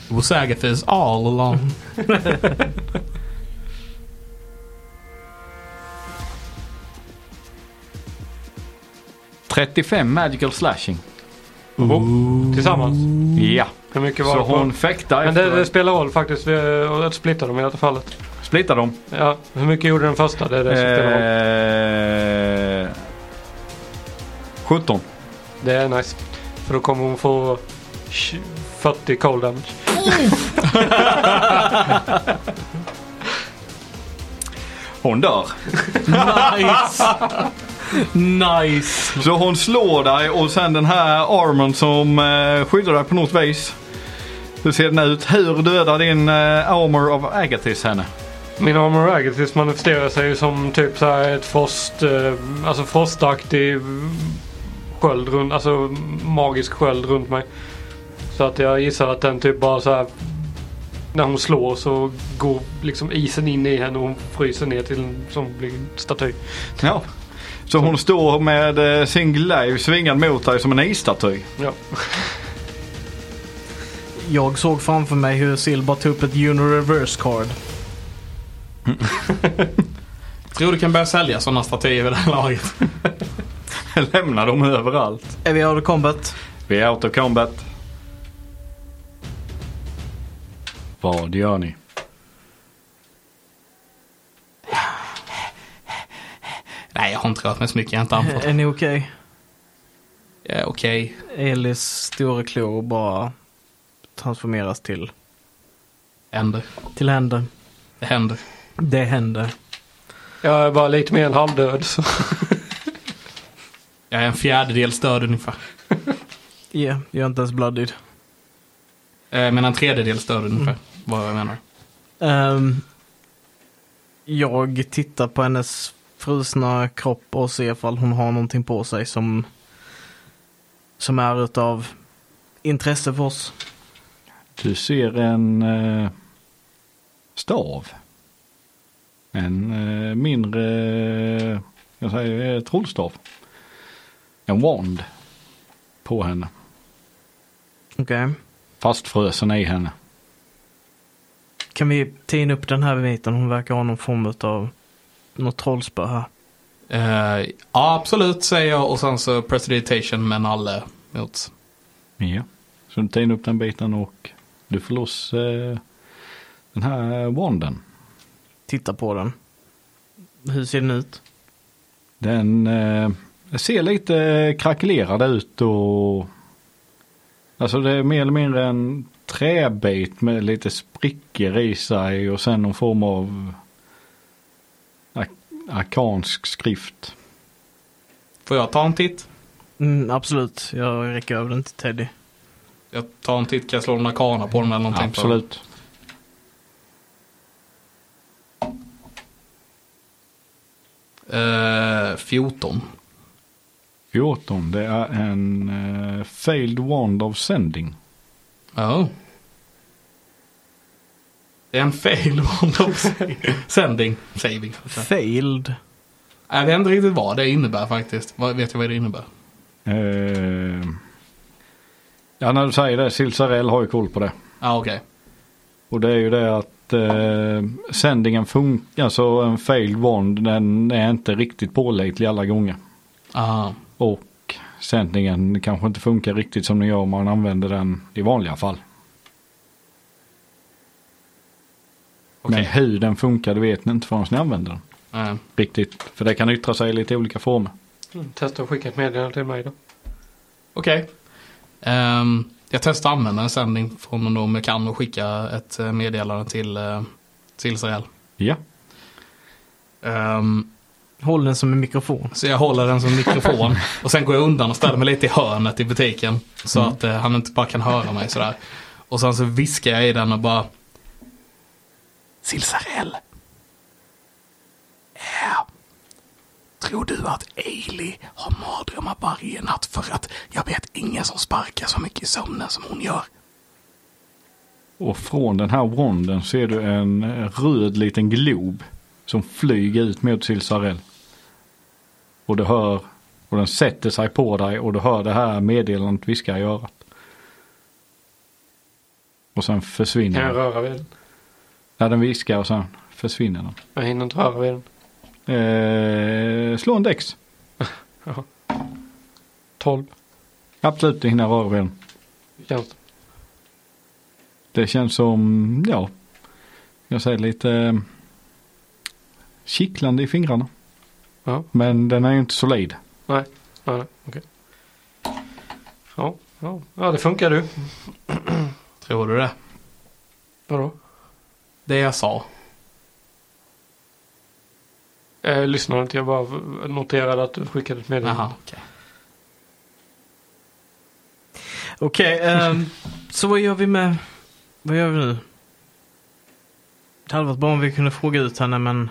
Speaker 1: It was Agathus all along.
Speaker 4: Fem magical slashing.
Speaker 2: Tillsammans.
Speaker 4: Ja.
Speaker 2: Hur mycket var
Speaker 4: Så
Speaker 2: det på?
Speaker 4: hon fäktar
Speaker 2: Men det,
Speaker 4: efter...
Speaker 2: det spelar roll faktiskt. Vi- och Att splitta dem i detta fallet.
Speaker 4: Splittar dem.
Speaker 2: Ja, hur mycket gjorde den första? Det är det som spelar roll.
Speaker 4: Eh, 17.
Speaker 2: Det är nice. För då kommer hon få tj- 40 cold damage.
Speaker 4: Hon dör.
Speaker 1: Nice! nice!
Speaker 4: Så hon slår dig och sen den här armen som eh, skyddar dig på något vis. Hur ser den ut? Hur dödar din eh, armor of Agathis henne?
Speaker 2: Min armor agatis manifesterar sig ju som typ så här ett frost, eh, alltså frostaktig mm, sköld runt, alltså magisk sköld runt mig. Så att jag gissar att den typ bara så här när hon slår så går liksom isen in i henne och hon fryser ner till en som blir en staty.
Speaker 4: Ja. Så hon står med eh, sin glaive svingad mot dig som en isstaty.
Speaker 2: Ja.
Speaker 3: Jag såg framför mig hur Sil bara tog upp ett unireverse card.
Speaker 1: Tror du kan börja sälja sådana statyer vid det här laget?
Speaker 4: Lämnar dem överallt.
Speaker 3: Är vi out of combat?
Speaker 4: Vi är out of combat. Vad gör ni?
Speaker 1: Nej, jag har inte rört mig så mycket. Jag har inte anfört.
Speaker 3: Eh, Är ni okej?
Speaker 1: Ja, Okej.
Speaker 3: Elis stora klor bara transformeras till,
Speaker 1: Händer.
Speaker 3: till händer.
Speaker 1: Det händer.
Speaker 3: Det händer.
Speaker 2: Jag är bara lite mer än halvdöd så.
Speaker 1: Jag är en fjärdedels död ungefär.
Speaker 3: Ja, jag är inte ens bloodied.
Speaker 1: Eh, men en tredjedels död ungefär. Vad jag menar.
Speaker 3: Ehm, jag tittar på hennes frusna kropp och ser ifall hon har någonting på sig som, som är utav intresse för oss.
Speaker 4: Du ser en eh, stav. En eh, mindre, eh, jag säger eh, trollstav. En wand på henne.
Speaker 3: Okej.
Speaker 4: Fastfrusen i henne.
Speaker 3: Kan vi tina upp den här biten? Hon verkar ha någon form utav något trollspö här.
Speaker 1: Eh, ja, absolut säger jag och sen så presiditation med nalle mot.
Speaker 4: Ja. Så du tar in upp den biten och du får loss eh, den här wanden.
Speaker 3: Titta på den. Hur ser den ut?
Speaker 4: Den eh, ser lite krackelerad ut och alltså det är mer eller mindre en träbit med lite sprickor i sig och sen någon form av ak- arkansk skrift.
Speaker 1: Får jag ta en titt?
Speaker 3: Mm, absolut, jag räcker över den till Teddy.
Speaker 1: Jag tar en titt, kan jag slå några kana på dem eller någonting?
Speaker 4: Absolut.
Speaker 1: Eh, 14.
Speaker 4: 14, det är en eh, failed wand of sending.
Speaker 1: Ja. Det är en fail wand of sending. Saving.
Speaker 3: Failed.
Speaker 1: Eh, Jag vet inte riktigt vad det innebär faktiskt. Vad- Vet jag vad det innebär?
Speaker 4: Eh, ja, när du säger det, Silsarell har ju koll på det.
Speaker 1: Ja, Ah, okej.
Speaker 4: Och det är ju det att eh, sändningen funkar, alltså en failed wand den är inte riktigt pålitlig alla gånger.
Speaker 1: Ah.
Speaker 4: Och sändningen kanske inte funkar riktigt som den gör om man använder den i vanliga fall.
Speaker 1: Okej.
Speaker 4: Men hur den funkar det vet ni inte förrän ni använder den.
Speaker 1: Eh,
Speaker 4: Riktigt. För det kan yttra sig i lite olika former.
Speaker 2: Mm, Testa att skicka ett meddelande till mig då.
Speaker 1: Okej. Ehm, jag testar att använda en sändning från honom om jag kan och skicka ett eh, meddelande till, eh, till Israel.
Speaker 4: Ja.
Speaker 1: Ehm,
Speaker 3: Håll den som en mikrofon.
Speaker 1: Så jag håller den som mikrofon. Och sen går jag undan och ställer mig lite i hörnet i butiken. Så att eh, han inte bara kan höra mig sådär. Och sen så viskar jag i den och bara. Silsarell. Eh, tror du att Ailey har mardrömmar varje natt för att jag vet ingen som sparkar så mycket i sömnen som hon gör?
Speaker 4: Och från den här ronden ser du en röd liten glob som flyger ut mot Silsarell. Och du hör, och den sätter sig på dig och du hör det här meddelandet viska i örat. Och sen
Speaker 2: Kan
Speaker 4: försvinner
Speaker 2: jag
Speaker 4: den.
Speaker 2: röra vid den?
Speaker 4: Ja, den viskar och sen försvinner den.
Speaker 2: Jag hinner inte röra vid den.
Speaker 4: Eh, slå en dex.
Speaker 2: 12.
Speaker 4: Absolut, du hinner röra vid den.
Speaker 2: Känns det.
Speaker 4: Det känns som, ja, jag säger lite eh, kittlande i fingrarna.
Speaker 2: Ja.
Speaker 4: Men den är ju inte solid.
Speaker 2: Nej. Nej, nej. Okej. Ja, ja. ja, det funkar du.
Speaker 1: Tror du det?
Speaker 2: Vadå?
Speaker 1: Det jag sa.
Speaker 2: Jag lyssnade inte. Eh, Jag bara noterade att du skickade ett meddelande.
Speaker 1: Jaha, okej.
Speaker 3: Okej, ehm, så vad gör vi med... Vad gör vi nu? Det hade varit bra om vi kunde fråga ut henne men...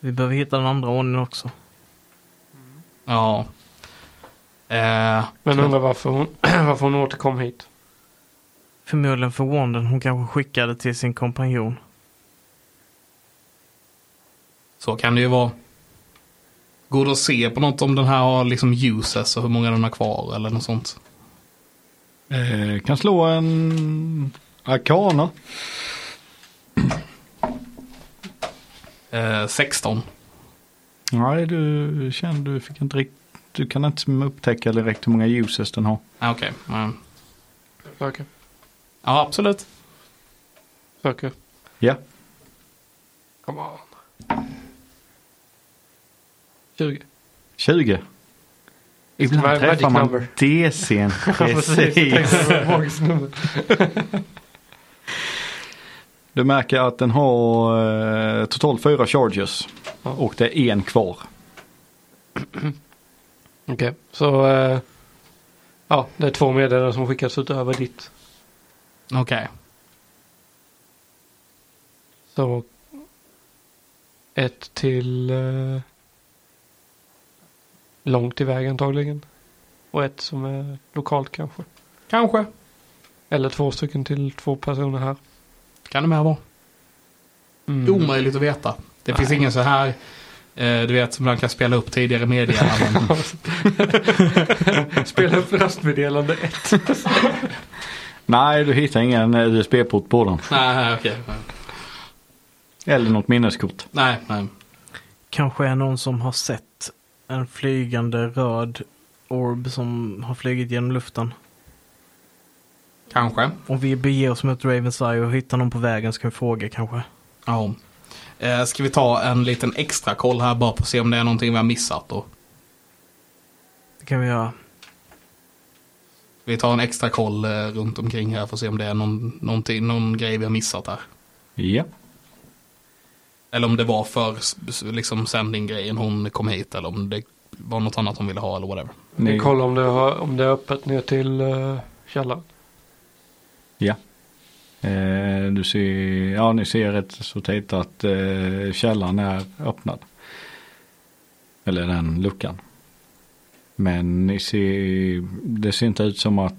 Speaker 3: Vi behöver hitta den andra ordningen också.
Speaker 1: Ja. Eh,
Speaker 2: Men undrar varför hon, varför hon återkom hit.
Speaker 3: Förmodligen för Wanden. Hon kanske skickade till sin kompanjon.
Speaker 1: Så kan det ju vara. Går det att se på något om den här har liksom uses och hur många den har kvar eller något sånt?
Speaker 4: Eh, kan slå en arkana.
Speaker 1: Eh, 16.
Speaker 4: Nej, du känner du fick inte riktigt. Du kan inte upptäcka direkt hur många uses den har.
Speaker 1: Ah, Okej. Mm.
Speaker 2: Söker.
Speaker 1: Ja, absolut.
Speaker 2: Söker.
Speaker 4: Ja.
Speaker 2: Come on. 20.
Speaker 4: 20. Ibland
Speaker 2: Mag-
Speaker 4: träffar
Speaker 2: magic
Speaker 4: man
Speaker 2: number.
Speaker 4: DC'n. Precis. Du märker att den har eh, totalt fyra charges.
Speaker 2: Ja.
Speaker 4: Och det är en kvar.
Speaker 2: Okej, så eh, ja, det är två meddelanden som skickas utöver ditt.
Speaker 1: Okej.
Speaker 2: Så ett till eh, långt iväg antagligen. Och ett som är lokalt kanske.
Speaker 1: Kanske.
Speaker 2: Eller två stycken till två personer här.
Speaker 1: Kan det med vara.
Speaker 2: Mm.
Speaker 1: Omöjligt att veta. Det finns ingen så här, eh, du vet, som man kan spela upp tidigare meddelanden.
Speaker 2: Spela upp röstmeddelande ett.
Speaker 4: Nej, du hittar ingen eh, USB-port på den.
Speaker 1: nej, nej, okej.
Speaker 4: Eller något minneskort.
Speaker 1: Nej, nej.
Speaker 3: Kanske är någon som har sett en flygande röd orb som har flugit genom luften.
Speaker 1: Kanske.
Speaker 3: Om vi beger oss mot Ravens Eye och hittar någon på vägen så kan vi fråga kanske.
Speaker 1: Ja. Eh, ska vi ta en liten extra koll här bara för att se om det är någonting vi har missat då?
Speaker 3: Det kan vi göra.
Speaker 1: Vi tar en extra koll eh, runt omkring här för att se om det är någon, någonting, någon grej vi har missat här.
Speaker 4: Ja.
Speaker 1: Eller om det var för s- s- liksom, sändninggrejen hon kom hit eller om det var något annat hon ville ha eller whatever.
Speaker 2: Vi
Speaker 4: Ni-
Speaker 2: kollar om det, har, om det är öppet ner till eh, källaren.
Speaker 4: Ja. Eh, du ser, ja ni ser rätt så tidigt att eh, källaren är öppnad. Eller den luckan. Men ni ser, det ser inte ut som att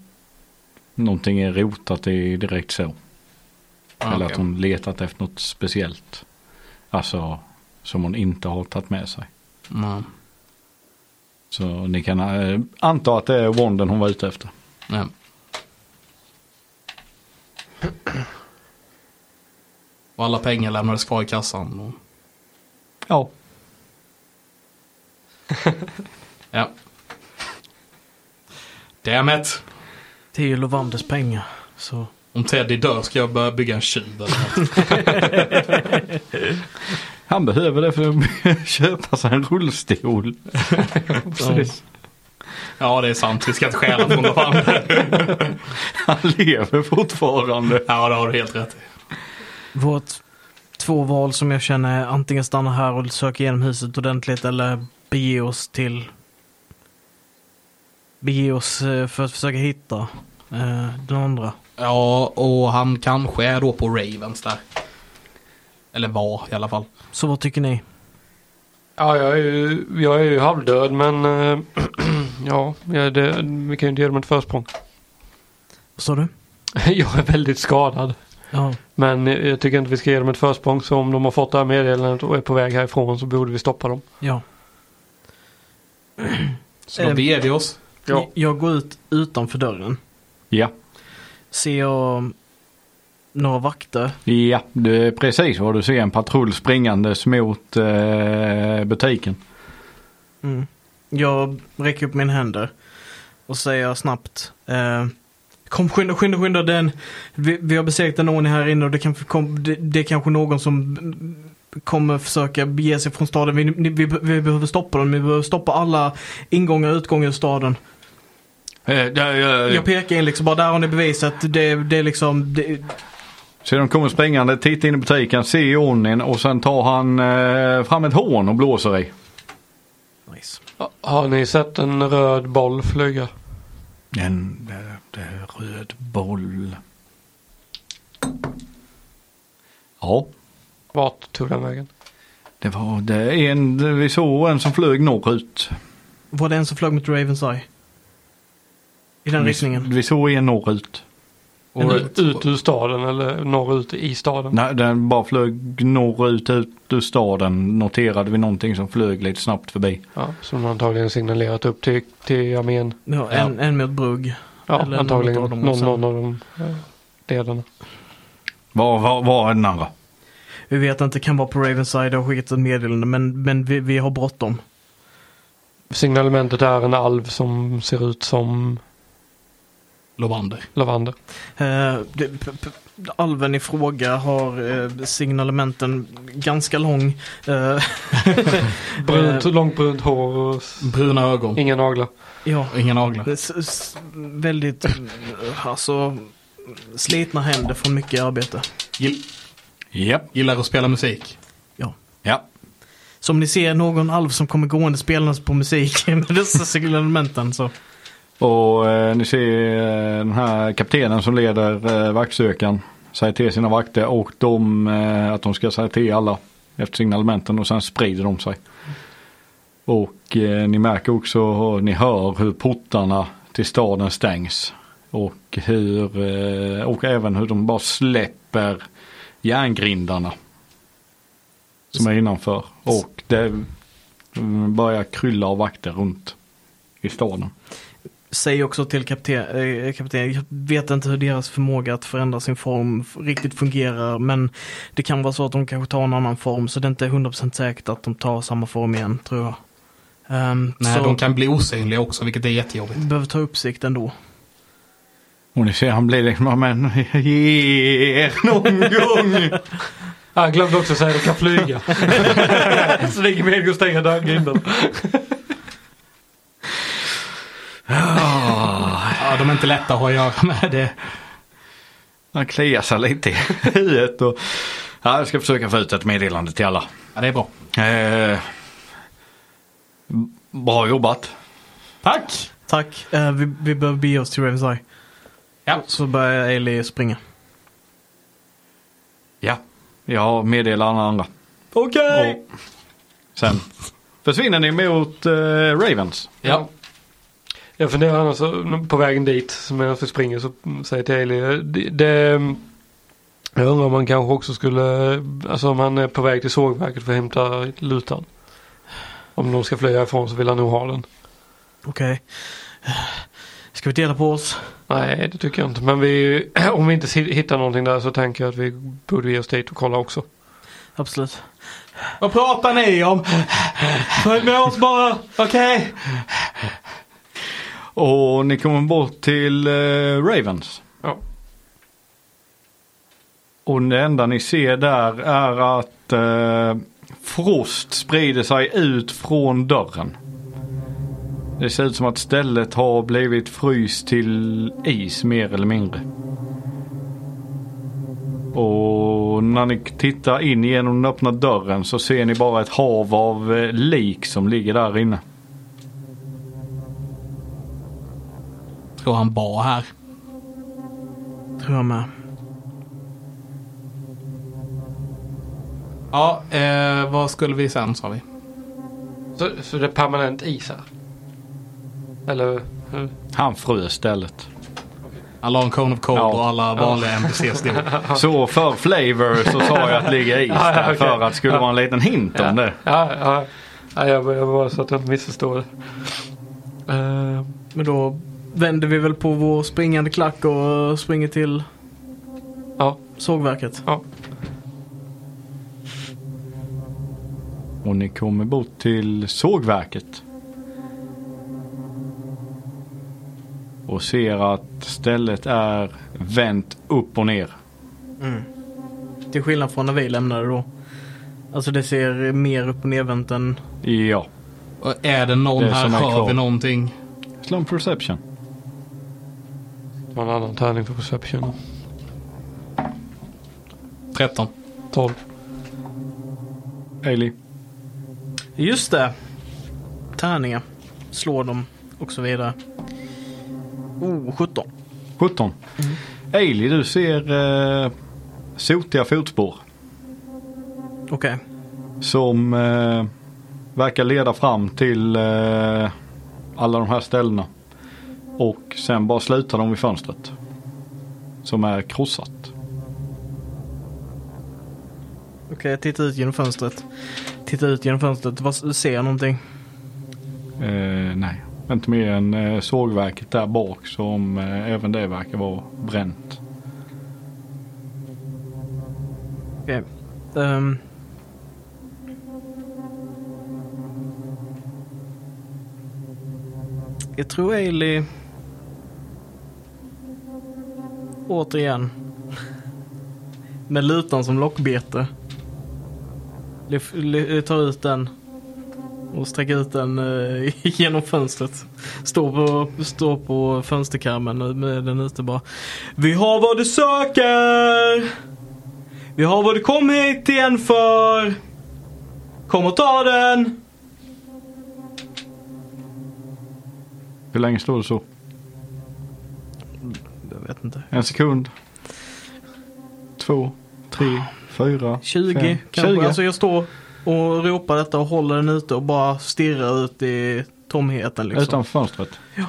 Speaker 4: någonting är rotat i direkt så.
Speaker 1: Ah,
Speaker 4: Eller
Speaker 1: okej.
Speaker 4: att hon letat efter något speciellt. Alltså som hon inte har tagit med sig.
Speaker 1: Nej.
Speaker 4: Så ni kan eh, anta att det är Wonden hon var ute efter.
Speaker 1: Nej. Och alla pengar lämnades kvar i kassan. Och...
Speaker 4: Ja.
Speaker 1: Ja. Damn it.
Speaker 3: Det är ju Lovanders pengar. Så
Speaker 1: Om Teddy dör ska jag börja bygga en tjuv eller något.
Speaker 4: Han behöver det för att köpa sig en rullstol.
Speaker 3: Precis.
Speaker 1: Ja det är sant, vi ska inte stjäla från någon annan.
Speaker 4: Han lever fortfarande.
Speaker 1: Ja det har du helt rätt i.
Speaker 3: Vårt två val som jag känner är antingen stanna här och söka igenom huset ordentligt eller bege oss till... Bege oss eh, för att försöka hitta eh, den andra.
Speaker 1: Ja och han kanske är då på Ravens där. Eller var i alla fall.
Speaker 3: Så vad tycker ni?
Speaker 2: Ja, jag är ju, jag är ju halvdöd men eh, ja, jag är det, vi kan ju inte ge dem ett försprång.
Speaker 3: Vad sa du?
Speaker 2: jag är väldigt skadad.
Speaker 3: Ja.
Speaker 2: Men eh, jag tycker inte vi ska ge dem ett försprång så om de har fått det här meddelandet och är på väg härifrån så borde vi stoppa dem.
Speaker 3: ja.
Speaker 1: Så då
Speaker 3: Eh,
Speaker 1: beger vi oss.
Speaker 3: Jag går ut utanför dörren.
Speaker 4: Ja,
Speaker 3: Ser jag några vakter?
Speaker 4: ja det är precis vad du ser. En patrull springandes mot eh, butiken.
Speaker 3: Mm. Jag räcker upp mina händer och säger snabbt. Eh, kom skynda, skynda, skynda den. Vi, vi har besegrat en ordning här inne och det, kan, kom, det, det är kanske någon som mm, kommer försöka bege sig från staden. Vi, ni- vi, vi behöver stoppa dem. Vi behöver stoppa alla ingångar och utgångar ur staden.
Speaker 4: Eh, där, eh,
Speaker 3: Jag pekar in liksom bara, där har ni beviset. Det, det är liksom, det,
Speaker 4: Så de kommer springande, tittar in i butiken, ser ordningen och sen tar han eh, fram ett horn och blåser i.
Speaker 3: nice.
Speaker 2: Ja, Har ni sett en röd boll flyga?
Speaker 4: En eh, röd boll. Ja,
Speaker 2: Vart tog den vägen?
Speaker 4: det var det är en, vi såg en som flög norrut.
Speaker 3: Var det en som flög mot Ravens Eye? I den riktningen?
Speaker 4: Vi, vi såg en norrut.
Speaker 2: Och
Speaker 1: Norrut.
Speaker 2: ut ur staden eller norrut i staden?
Speaker 4: Nej, den bara flög norrut ut ur staden. Noterade vi någonting som flög lite snabbt förbi.
Speaker 2: Ja, som de antagligen signalerat upp till, till armén.
Speaker 3: Ja, en, en mot Brugg.
Speaker 2: Ja,
Speaker 3: Eller
Speaker 2: antagligen
Speaker 3: något av dem
Speaker 2: någon, någon,
Speaker 3: också.
Speaker 2: av de eh, ledarna.
Speaker 4: Var, var, var är den andra?
Speaker 3: Vi vet inte, kan vara på Ravenside och har skickat ett meddelande men, men vi, vi har bråttom.
Speaker 2: Signalementet är en alv som ser ut som
Speaker 1: Lovander.
Speaker 2: Lavander.
Speaker 3: Eh, det- p- p- Alven i fråga har eh, signalementen ganska lång. Eh,
Speaker 2: Brunt,
Speaker 3: Eh.
Speaker 2: långt brunt hår och s-
Speaker 1: Bruna ögon.
Speaker 2: inga naglar.
Speaker 3: ja,
Speaker 1: Inga naglar.
Speaker 3: s- s- väldigt eh, alltså slitna händer från mycket arbete.
Speaker 1: Gill-
Speaker 4: Japp,
Speaker 1: gillar att spela musik.
Speaker 3: Ja.
Speaker 4: ja.
Speaker 3: Så om ni ser någon alv som kommer gående spelandes på musik med dessa signalementen så.
Speaker 4: Och eh, ni ser eh, den här kaptenen som leder eh, vaktsökan. Säger till sina vakter och de, eh, att de ska säga till alla efter signalementen och sen sprider de sig. Och eh, ni märker också, ni hör hur portarna till staden stängs. Och, hur, eh, och även hur de bara släpper järngrindarna. Som är innanför. Och det mm, börjar krylla av vakter runt i staden.
Speaker 3: Säg också till kapten, eh, kapten, jag vet inte hur deras förmåga att förändra sin form f- riktigt fungerar men det kan vara så att de kanske tar en annan form så det är inte 100% säkert att de tar samma form igen tror jag. Ehm,
Speaker 1: Nej,
Speaker 3: så
Speaker 1: de kan bli osynliga också vilket är jättejobbigt.
Speaker 3: vi behöver ta uppsikt ändå.
Speaker 4: Och ni ser han blir liksom, "Ja, men ge er någon gång.
Speaker 2: Ah, jag glömde också säga att de kan flyga. så det är ingen mening att stänga dörrgrinden.
Speaker 1: Ja, de är inte lätta att ha att göra med. Det.
Speaker 4: Han kliar sig lite i huvudet och ja, jag ska försöka få ut ett meddelande till alla.
Speaker 1: Ja, det är bra.
Speaker 4: Eh, bra jobbat.
Speaker 1: Tack!
Speaker 3: Tack, eh, vi, vi behöver bege oss till Ravens Eye.
Speaker 1: Ja.
Speaker 3: Så börjar Eli springa.
Speaker 4: Ja, jag meddelar alla andra.
Speaker 1: Okej!
Speaker 4: Och sen försvinner ni mot eh, Ravens.
Speaker 1: Ja.
Speaker 2: Jag funderar annars så- på vägen dit medan vi springer så säger jag till Ailey. Det, det, jag undrar om man kanske också skulle, alltså om han är på väg till sågverket för att hämta lutan. Om de ska flyga ifrån så vill han nog ha den.
Speaker 3: Okej. Eh, Ska vi dela på oss?
Speaker 2: Nej, det tycker jag inte. Men vi, om vi inte si- hittar någonting där så tänker jag att vi borde ge oss dit och kolla också.
Speaker 3: Absolut.
Speaker 1: Vad pratar ni om? Följ med oss bara! Okej!
Speaker 4: Och ni kommer bort till eh, Ravens.
Speaker 2: Ja.
Speaker 4: Och det enda ni ser där är att eh, frost sprider sig ut från dörren. Det ser ut som att stället har blivit fryst till is mer eller mindre. Och när ni tittar in genom den öppna dörren så ser ni bara ett hav av eh, lik som ligger där inne.
Speaker 1: Tror han bar här.
Speaker 3: Tror jag med.
Speaker 1: Ja, eh, vad skulle vi sen sa vi?
Speaker 2: Så, så det är permanent is här? Eller? hur?
Speaker 4: Han frös stället.
Speaker 1: Han la en cone of cold
Speaker 4: Ja.
Speaker 1: och alla vanliga NPCs dog.
Speaker 4: Så för flavor så sa jag att ligga is
Speaker 2: Ja, ja,
Speaker 4: där
Speaker 2: okej.
Speaker 4: för att det skulle vara en liten hint om det.
Speaker 2: Ja, ja. ja jag jag bara så att jag inte missförstår det. Eh,
Speaker 3: Men då vänder vi väl på vår springande klack och eh, springer till
Speaker 2: ja.
Speaker 3: sågverket.
Speaker 4: Och ni kommer bort till sågverket. Och ser att stället är vänt upp och ner.
Speaker 3: Till skillnad från när vi lämnade då. Alltså det ser mer upp och nervänt än...
Speaker 4: Ja.
Speaker 1: Och är det någon
Speaker 4: Det är
Speaker 1: här?
Speaker 4: som är
Speaker 1: Hör
Speaker 4: kvar.
Speaker 1: vi någonting?
Speaker 4: Slå en perception.
Speaker 2: Det var en annan tärning för perception.
Speaker 1: 13.
Speaker 2: 12.
Speaker 4: Ailey.
Speaker 3: Just det! Tärningar. Slå dem och så vidare. Oh, 17.
Speaker 4: 17. Ailey, du ser eh, sotiga fotspår
Speaker 3: Okej.
Speaker 4: som eh, verkar leda fram till eh, alla de här ställena. Och sen bara slutar de vid fönstret. Som är krossat.
Speaker 3: Okej, jag tittar ut genom fönstret. Tittar ut genom fönstret. Vad, ser jag någonting?
Speaker 4: Eh, nej, inte mer än eh, sågverket där bak som eh, även det verkar vara bränt.
Speaker 3: Okej. Ehm. jag tror Ailey... Återigen. Med lutan som lockbete. Lyf- ly- Tar ut den. Och sträcker ut den eh, genom fönstret. Står på, står på fönsterkarmen med den ute bara. Vi har vad du söker! Vi har vad du kom hit igen för. Kom och ta den.
Speaker 4: Hur länge står det så?
Speaker 3: Jag vet inte.
Speaker 4: En sekund? Två? Tre? Fyra?
Speaker 3: 20
Speaker 4: fem,
Speaker 3: kanske.
Speaker 4: 20.
Speaker 3: Alltså jag står och ropar detta och håller den ute och bara stirrar ut i tomheten liksom.
Speaker 4: Utanför fönstret?
Speaker 3: Ja.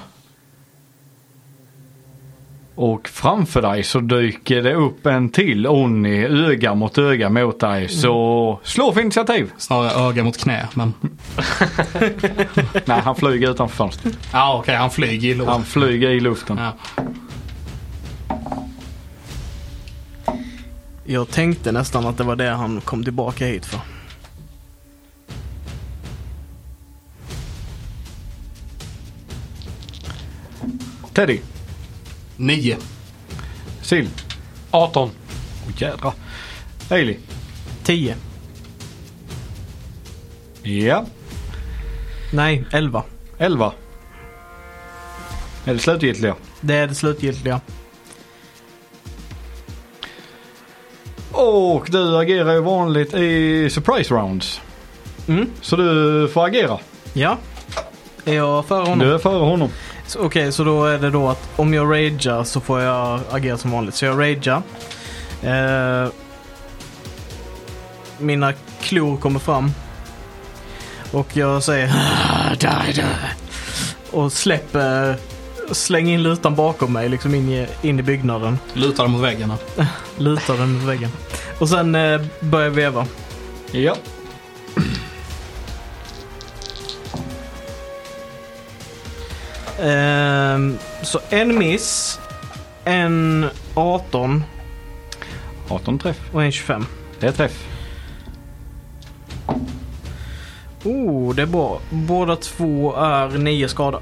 Speaker 4: Och framför dig så dyker det upp en till Onni öga mot öga mot
Speaker 3: Mm.
Speaker 4: dig. Så slå för initiativ!
Speaker 1: Snarare öga mot knä, men...
Speaker 4: Nej, han flyger utanför fönstret.
Speaker 1: Ja, okej, han flyger i
Speaker 4: Han
Speaker 1: lådan.
Speaker 4: flyger i luften.
Speaker 1: Ja.
Speaker 3: Jag tänkte nästan att det var det han kom tillbaka hit för.
Speaker 4: Teddy,
Speaker 1: Nio.
Speaker 4: Sill.
Speaker 2: 18.
Speaker 4: Åh jädra. Ailey.
Speaker 3: 10.
Speaker 4: Ja.
Speaker 3: Nej, 11.
Speaker 4: 11. Är det slutgiltiga?
Speaker 3: Det är det slutgiltiga.
Speaker 4: Och du agerar ju vanligt i surprise rounds.
Speaker 3: Mm.
Speaker 4: Så du får agera.
Speaker 3: Ja. Är jag före honom?
Speaker 4: Du är före honom.
Speaker 3: Så- Okej, så då är det då att om jag ragear så får jag agera som vanligt. Så jag ragear. Eh, mina klor kommer fram. Och jag säger "Ah, die, die." Och släpper, slänger in lutan bakom mig, liksom in i, in i byggnaden.
Speaker 1: Lutar mot väggen. här.
Speaker 3: Lutar den mot väggen. Och sen eh, börjar jag veva.
Speaker 4: Ja.
Speaker 3: Ehm, så en miss, en 18
Speaker 4: 18 träff.
Speaker 3: och en 25.
Speaker 4: Det är träff.
Speaker 3: Oh, det är bra. Båda två är nio skada.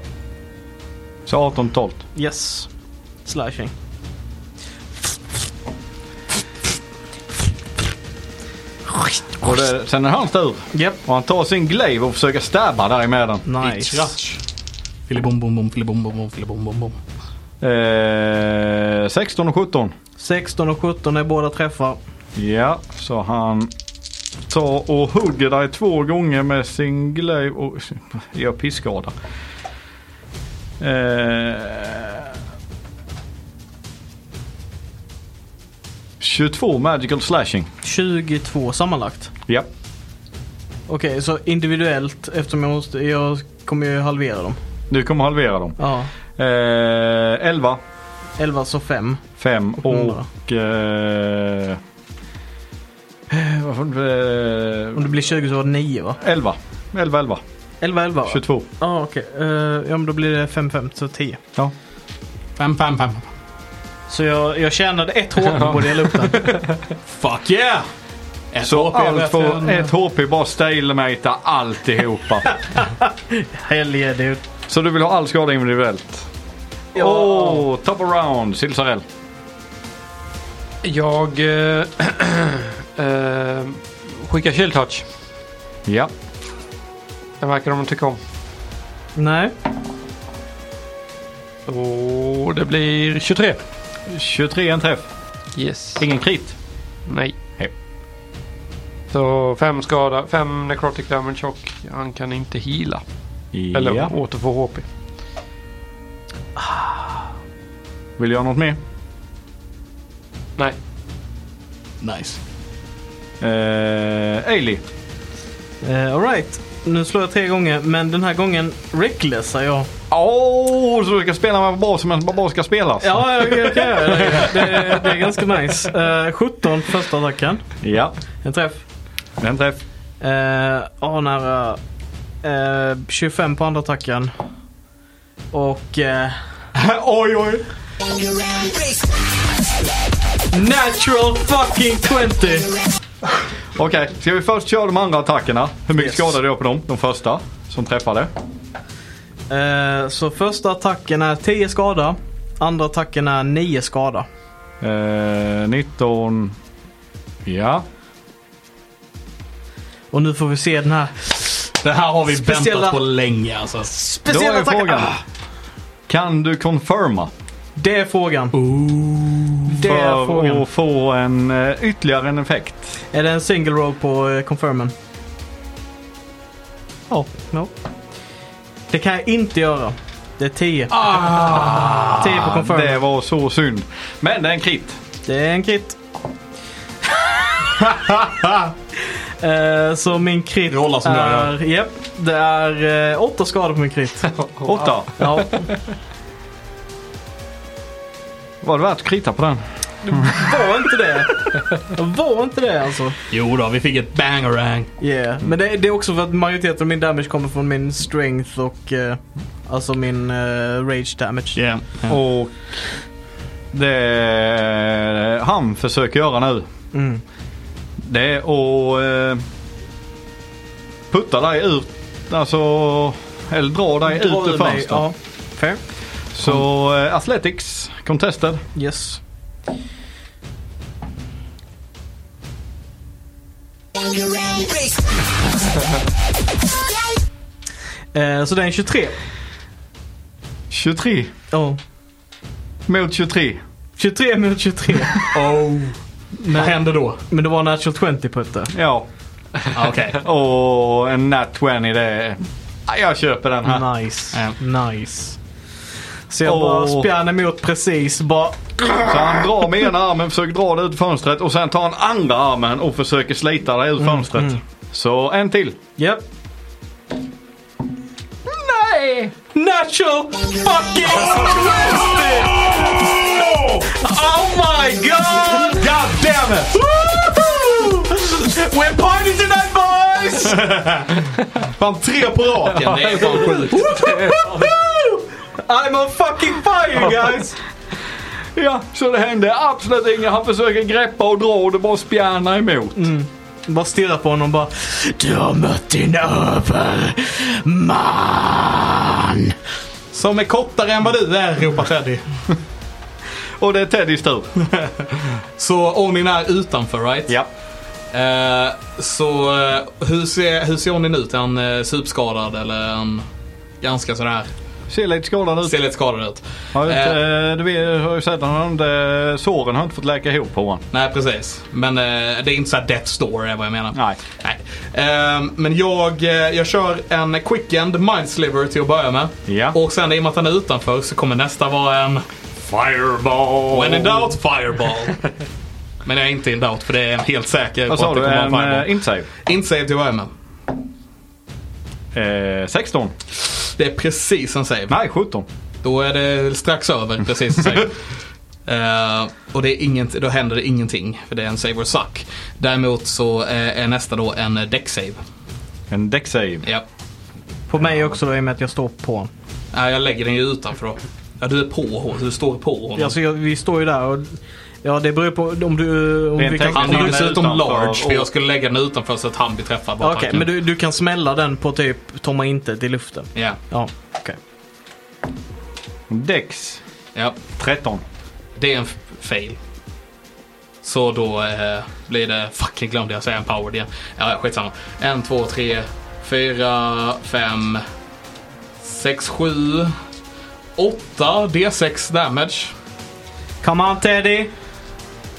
Speaker 4: Så 18 12.
Speaker 3: Yes. Slashing.
Speaker 4: Och det, sen är det hans tur.
Speaker 3: Japp.
Speaker 4: Och han tar sin glaive och försöker stabba där med den.
Speaker 3: Nice.
Speaker 1: Tratsch. Filibom, bom, bom, filibom, bom, bom, filibom, bom, bom.
Speaker 4: Eh, 16 och 17.
Speaker 3: 16 och 17 är båda träffar.
Speaker 4: Ja, så han tar och hugger dig två gånger med sin glaive och gör pisskada. Eh, 22 magical slashing.
Speaker 3: 22 sammanlagt.
Speaker 4: Ja.
Speaker 3: Okej, så individuellt eftersom jag måste, jag kommer ju halvera dem.
Speaker 4: Du kommer halvera dem.
Speaker 3: Ja,
Speaker 4: Eh, 11,
Speaker 3: 11 så 5.
Speaker 4: 5
Speaker 3: Hundra.
Speaker 4: och... Eh, eh, vad fan,
Speaker 3: Om
Speaker 4: eh,
Speaker 3: det blir 20 så var det 9 va?
Speaker 4: 11. 11, 11.
Speaker 3: 11, 11 va?
Speaker 4: 22.
Speaker 3: Ja, okej. Eh, ja, men då blir det 5, 5 så 10.
Speaker 4: Ja.
Speaker 1: Fem, fem, fem.
Speaker 3: Så jag, jag tjänade ett HP på att dela upp den.
Speaker 1: Fuck yeah! Ett
Speaker 4: Så
Speaker 1: HP är
Speaker 4: allt
Speaker 1: bättre än-
Speaker 4: får ett HP bara stalematear alltihopa.
Speaker 3: Helge dude.
Speaker 4: så du vill ha all skada individuellt?
Speaker 3: Ja.
Speaker 4: Åh, top around, Silsarell.
Speaker 2: Jag eh, eh, skickar shield touch.
Speaker 4: Ja.
Speaker 2: Den verkar de tycka om.
Speaker 3: Nej.
Speaker 2: Och det blir 23.
Speaker 4: 23 en träff.
Speaker 2: Yes.
Speaker 4: Ingen krit.
Speaker 2: Nej.
Speaker 4: Hej.
Speaker 2: Så fem skada, fem necrotic damage och han kan inte heala. Eller
Speaker 4: Ja.
Speaker 2: återfå HP.
Speaker 4: Vill du göra något mer?
Speaker 2: Nej.
Speaker 1: Nice.
Speaker 4: Eh, Ailey.
Speaker 3: Uh, Alright. Nu slår jag tre gånger men den här gången recklessar jag.
Speaker 4: Åh, så du ska spela med barbar som en barbar ska spelas?
Speaker 3: Ja, jag, jag kan göra det. det. Det är ganska nice. Eh, 17 första attacken.
Speaker 4: Ja,
Speaker 3: En träff.
Speaker 4: en träff.
Speaker 3: Eh, Ja, nära. Eh, 25 på andra attacken. Och eh,
Speaker 4: oj, oj.
Speaker 3: natural fucking 20!
Speaker 4: Okej, ska vi först köra de andra attackerna? Hur mycket
Speaker 3: Yes.
Speaker 4: skada du gör på dem? De första som träffade.
Speaker 3: Eh, så första attacken är 10 skada. Andra attacken är 9 skada.
Speaker 4: Eh, 19. Ja.
Speaker 3: Och nu får vi se den här
Speaker 1: Det här har vi
Speaker 3: Speciella-
Speaker 1: väntat på länge alltså.
Speaker 4: Då
Speaker 3: speciella
Speaker 4: är
Speaker 3: attacken.
Speaker 4: frågan.
Speaker 3: Ah,
Speaker 4: Kan du confirma?
Speaker 3: Det är frågan. Det är
Speaker 4: För
Speaker 3: frågan.
Speaker 4: att få en, eh, ytterligare en effekt.
Speaker 3: Är det en single roll på eh, confirmen? Ja. no. Det kan jag inte göra. Det är 10.
Speaker 4: Ah.
Speaker 3: 10 på confirmen.
Speaker 4: Det var så synd. Men det är en krit.
Speaker 3: Det är en crit. Eh, så min crit
Speaker 1: Det rollar som det
Speaker 3: är... Japp, det är eh, åtta skador på min crit.
Speaker 4: Åtta.
Speaker 3: Ja.
Speaker 4: Var det värt att krita på den?
Speaker 3: Var inte det. Var inte det alltså.
Speaker 1: Jo då, vi fick ett bangerang.
Speaker 3: Yeah. Men det, det är också för att majoriteten av min damage kommer från min strength och eh, alltså min eh, rage damage.
Speaker 1: Yeah.
Speaker 4: Och det eh, han försöker göra nu.
Speaker 3: Mm.
Speaker 4: Det är att eh, putta dig ut. Alltså, eller dra dig
Speaker 3: Dra
Speaker 4: ut ur
Speaker 3: ur mig,
Speaker 4: fönstret.
Speaker 3: Ja. Fair.
Speaker 4: Så eh, Athletics, contested.
Speaker 3: Yes. Eh, så det är en 23.
Speaker 4: 23
Speaker 3: Ja.
Speaker 4: mot 23.
Speaker 3: 23 mot 23.
Speaker 1: Oh. Vad hände då?
Speaker 3: Men det var en natural 20 på det.
Speaker 4: Ja,
Speaker 1: Ah, Okej.
Speaker 4: och en nat 20 det är... Ja, Jag köper den här.
Speaker 3: Nice.
Speaker 1: Ja.
Speaker 3: Nice. Så jag bara
Speaker 4: Åh.
Speaker 3: spjärn emot precis. Bara,
Speaker 4: Så han drar med ena armen, försöker dra dig ut fönstret och sen tar han andra armen och försöker slita dig ut fönstret. Så en till.
Speaker 3: japp. Nej! Natural fucking 20! Oh my god!
Speaker 4: God damn it!
Speaker 3: We're partying tonight boys!
Speaker 4: Fan tre på raken.
Speaker 1: Det är fan sjukt.
Speaker 3: I'm on fucking fire guys!
Speaker 4: Ja, så det hände absolut inget. Han försöker greppa och dra och det bara spjärnar emot.
Speaker 3: Bara stirrar på honom bara. Du har mött din överman.
Speaker 1: Som är kortare än vad du är, ropar Teddy.
Speaker 4: Och det är Teddys tur.
Speaker 1: Så Onin är utanför, right?
Speaker 4: Ja.
Speaker 1: Eh, så eh, hur ser, hur ser Onin ut? Är han eh, superskadad eller är han ganska sådär?
Speaker 4: Ser lite skadad ut.
Speaker 1: Ser lite skadad ut.
Speaker 4: Har ju inte,
Speaker 1: Eh.
Speaker 4: eh, du vet, har ju sett, han har inte, såren har inte fått läka ihop på honom.
Speaker 1: Nej precis. Men eh, det är inte såhär Death Store är vad jag menar.
Speaker 4: Nej.
Speaker 1: Nej. Ehm, men jag, eh, jag kör en quickend mindsliver till att börja med.
Speaker 4: Ja.
Speaker 1: Och sen i och med att den är utanför så kommer nästa vara en
Speaker 4: Fireball!
Speaker 1: When in doubt
Speaker 4: Oh.
Speaker 1: fireball. men jag är inte in doubt för det är en helt säker
Speaker 4: Vad sa du?
Speaker 1: kommer
Speaker 4: En
Speaker 1: vara en
Speaker 4: eh,
Speaker 1: fireball.
Speaker 4: insave?
Speaker 1: Inte save till att börja med.
Speaker 4: Eh, 16?
Speaker 1: Det är precis en save.
Speaker 4: Nej, 17.
Speaker 1: Då är det strax över precis en save. Eh, och det är inget, då händer det ingenting för det är en save or suck. Däremot så eh, är nästa då en deck save.
Speaker 4: En deck save.
Speaker 1: Ja.
Speaker 3: På mig också då i och med att jag står på honom.
Speaker 1: Nej, jag lägger den ju utanför då. Ja, du är på honom. Du står på honom.
Speaker 3: Alltså, jag, vi står ju där och... Ja, det beror ju på om du... Om
Speaker 4: Rent
Speaker 3: vi kan,
Speaker 4: tekniskt.
Speaker 1: han är
Speaker 4: Han
Speaker 1: ju
Speaker 4: är
Speaker 1: dessutom
Speaker 4: utanför
Speaker 1: large, för
Speaker 4: och-
Speaker 1: jag skulle lägga den utanför så att han blir träffad
Speaker 3: Ja,
Speaker 1: bara
Speaker 3: Okej, men du, du kan smälla den på typ tomma intet i luften.
Speaker 1: Ja,
Speaker 3: Ja, okej.
Speaker 4: Dex
Speaker 1: ja.
Speaker 4: 13.
Speaker 1: Det är en f- fail. Så då eh, blir det... Fucking glömde jag säga en power igen. Ja, ja, skitsamma. En, två, tre, fyra, fem, sex, sju, åtta D6 damage.
Speaker 3: Come on Teddy!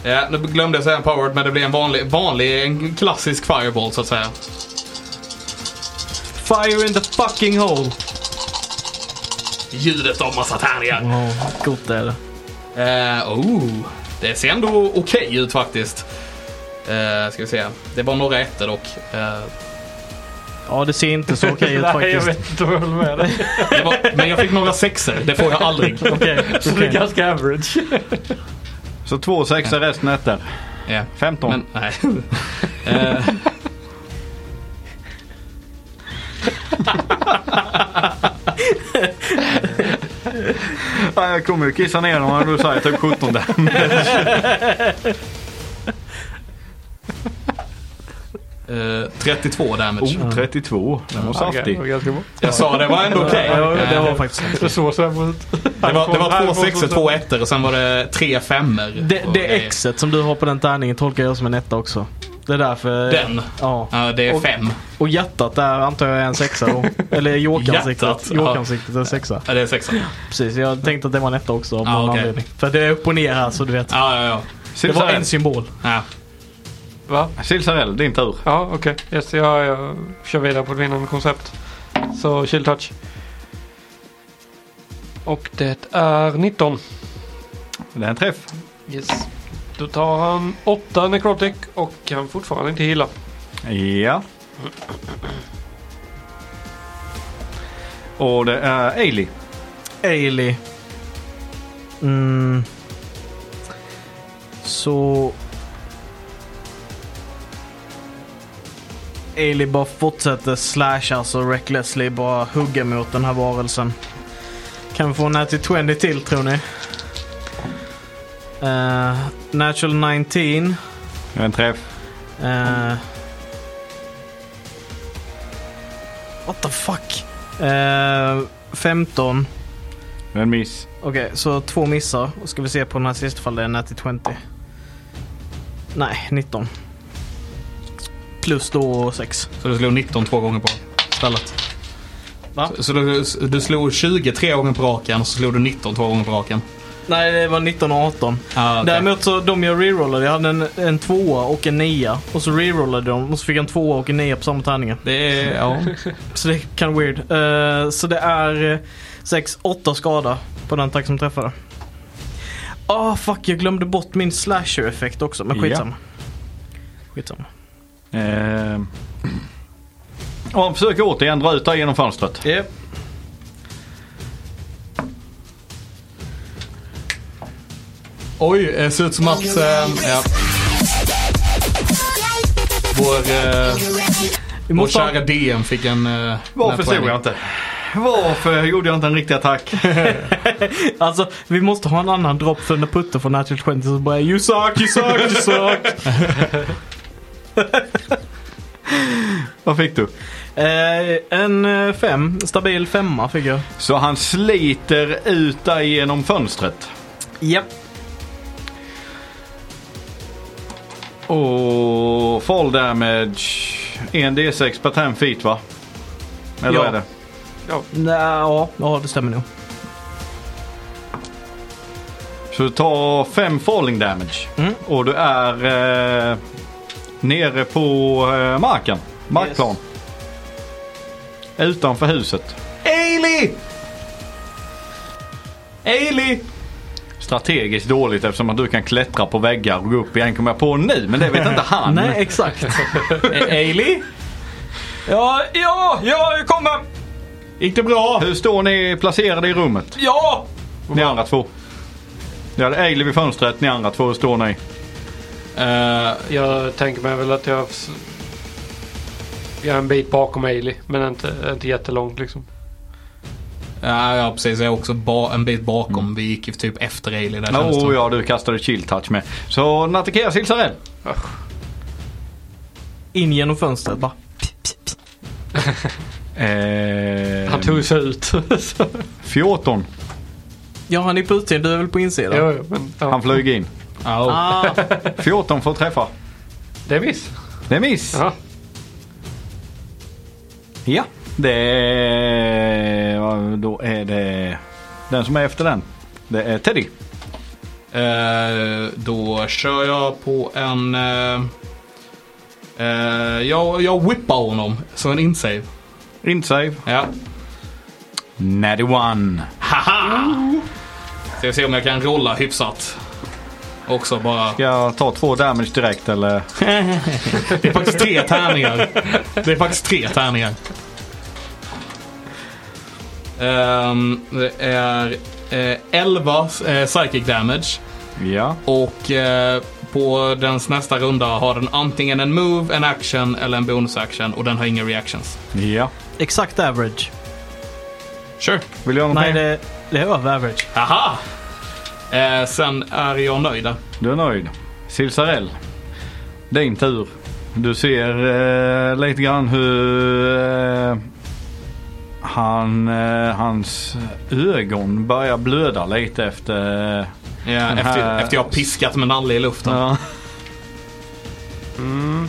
Speaker 1: Ja, nu glömde jag säga en powered, men det blir en vanlig, vanlig, en klassisk fireball så att säga.
Speaker 3: Fire in the fucking hole!
Speaker 1: Ljudet av massa tärningar.
Speaker 3: Oh, gott är det.
Speaker 1: Eh, oh, det ser ändå okej ut faktiskt. Eh, ska vi se. Det var några ettor dock. Eh,
Speaker 3: Ja, det ser inte så okej ut
Speaker 2: Nej, jag
Speaker 3: faktiskt.
Speaker 2: vet inte om jag håller med dig.
Speaker 1: det var, men jag fick några sexor. Det får jag aldrig.
Speaker 3: Okej,
Speaker 2: Så det är
Speaker 3: okej.
Speaker 2: ganska average.
Speaker 4: Så två sexor, resten ettor.
Speaker 1: Ja,
Speaker 4: 15.
Speaker 1: men nej. Eh,
Speaker 4: Ja, jag kommer ju kissa ner honom om du säger typ 17 där.
Speaker 1: eh, 32 damage.
Speaker 4: Oh, 32. Den var
Speaker 2: Okej,
Speaker 4: saftig.
Speaker 2: det var ganska bra.
Speaker 1: Jag sa det var ändå okej.
Speaker 3: Ja, det
Speaker 1: Eh,
Speaker 3: var faktiskt
Speaker 2: Det såg så här ut.
Speaker 1: det, var, det var två sexor, två ettor och sen var det tre femmor.
Speaker 3: det,
Speaker 1: och
Speaker 3: det
Speaker 1: grejer.
Speaker 3: exet som du har på den tärningen tolkar jag som en etta också. Det är därför... eh,
Speaker 1: Den.
Speaker 3: Ja.
Speaker 1: Ja, det är
Speaker 3: Och-
Speaker 1: fem.
Speaker 3: Och hjärtat där antar jag är en sexa då. Eller
Speaker 1: Hjärtat,
Speaker 3: jokansiktet.
Speaker 1: ja.
Speaker 3: Jokansiktet är en sexa.
Speaker 1: Ja, det är sexa.
Speaker 3: Precis, jag tänkte att det var en etta också av
Speaker 1: Ja,
Speaker 3: någon
Speaker 1: okej. Typ
Speaker 3: anledning. För det är upp och ner här så du vet.
Speaker 1: Ja, ja, ja.
Speaker 3: Det var
Speaker 4: Silsarell.
Speaker 3: en symbol.
Speaker 1: ja.
Speaker 2: Va?
Speaker 4: Silsarell, din tur.
Speaker 2: Ja, okej. Yes, jag, jag kör vidare på ett vinnande koncept. Så chill touch. Och det är 19.
Speaker 4: Det är en träff.
Speaker 2: Yes. Då tar han 8 necrotic och kan fortfarande inte heala.
Speaker 4: Ja. Och det är Ailey.
Speaker 3: Ailey. Mm. Så... Ailey bara fortsätter slasha alltså recklessly bara hugga mot den här varelsen. Kan vi få en till 20 till tror ni? Eh, natural 19.
Speaker 4: Det är en träff.
Speaker 3: Eh, what the fuck? Eh, 15.
Speaker 4: Det är en miss.
Speaker 3: Okej, så två missar. Och ska vi se på den här sista fall det är en 20. Nej, 19. Plus då 6.
Speaker 1: Så du slog 19 två gånger på stället.
Speaker 3: Va?
Speaker 1: Så, så du, du slog 20 tre gånger på raken och så slog du 19 två gånger på raken.
Speaker 3: Nej, det var 19 och 18.
Speaker 1: Ah, okej.
Speaker 3: Däremot så de jag rerollade, jag hade en, en tvåa och en nia. Och så rerollade de och så fick jag en tvåa och en nia på samma tärningar.
Speaker 1: Det är, ja.
Speaker 3: Så det är kind of weird. Eh, så det är 6, 8 skada på den tack som träffade. Ah fuck, jag glömde bort min slasher-effekt också. Men
Speaker 4: Ja.
Speaker 3: skitsamma. Skitsamma.
Speaker 4: Eh. Och han försöker återigen dra ut där genom fönstret.
Speaker 3: Yep.
Speaker 1: Oj, eh, ser ut som att... Eh, ja. Vår, eh, vår kära DM fick en... Eh,
Speaker 4: Varför
Speaker 1: nat
Speaker 4: såg
Speaker 1: 20.
Speaker 4: jag inte? Varför gjorde jag inte en riktig attack?
Speaker 3: Alltså vi måste ha en annan dropp för när Putte får natural 20 så bara you suck, you suck, you suck.
Speaker 4: Vad fick du?
Speaker 3: eh, en eh, fem, stabil femma fick jag.
Speaker 4: Så han sliter ut där genom fönstret.
Speaker 3: Japp.
Speaker 4: Och fall damage. En D6 per 10 feet va? Eller
Speaker 2: Ja.
Speaker 4: vad är det?
Speaker 3: Nej, ja, ja, det stämmer nog.
Speaker 4: Så ta 5 falling damage.
Speaker 3: Mm.
Speaker 4: Och du är eh, nere på eh, marken. Markplan. Utanför huset. Ailey! Ailey! Strategiskt dåligt eftersom att du kan klättra på väggar och gå upp igen kommer jag på nu. Men det vet inte han.
Speaker 3: Nej, exakt.
Speaker 4: Ailey?
Speaker 2: Ja, ja, ja, jag kommer!
Speaker 4: Gick det bra? Hur står ni placerade i rummet?
Speaker 2: Ja!
Speaker 4: Ni andra två. Ni hade Ailey vid fönstret, ni andra två hur står ni?
Speaker 1: Eh,
Speaker 2: Jag tänker mig väl att jag... s- Jag är en bit bakom Ailey, men inte, inte jättelångt liksom.
Speaker 1: ja, ja, precis. Jag är också ba- en bit bakom. Vi gick ju typ efter Ailey där känns det.
Speaker 4: Mm. Oh, ja, du kastade chill touch med. Så Natikea Silsarell.
Speaker 3: In genom fönstret bara.
Speaker 4: Eh,
Speaker 2: Han tog sig ut. Så-
Speaker 4: 14.
Speaker 3: Ja, han är på utsidan. Du är väl på insidan?
Speaker 2: jo, jo, men, ja.
Speaker 4: Han flög in.
Speaker 1: Ja, oh.
Speaker 3: Ah,
Speaker 4: 14 får träffa.
Speaker 2: Det är miss.
Speaker 4: Det är miss.
Speaker 2: Ja.
Speaker 4: Ja. Det är... Då är det... Den som är efter den. Det är Teddy.
Speaker 1: Eh, då kör jag på en... eh, eh, jag, jag whippar honom som en insave.
Speaker 4: Insave.
Speaker 1: Ja.
Speaker 4: 91.
Speaker 1: Haha! Ska vi se om jag kan rolla hyfsat. Också bara.
Speaker 4: Ska jag ta två damage direkt eller?
Speaker 1: Det är faktiskt tre tärningar. Det är faktiskt tre tärningar. Ehm, det är eh, 11 eh, psychic damage.
Speaker 4: Ja.
Speaker 1: Och eh, på dens nästa runda har den antingen en move, en action eller en bonus action. Och den har inga reactions.
Speaker 4: Ja.
Speaker 3: exakt average.
Speaker 1: Sure.
Speaker 4: Vill du göra
Speaker 3: Nej,
Speaker 4: någonting?
Speaker 3: det, det är över average.
Speaker 1: Aha! Eh, sen är jag nöjd Eh, där.
Speaker 4: Du är nöjd. Silsarell. Din tur. Du ser eh, lite grann hur eh, han, eh, hans ögon börjar blöda lite efter... Eh,
Speaker 1: Ja, efter, efter jag har piskat med nalle i luften.
Speaker 4: ja.
Speaker 2: Mm.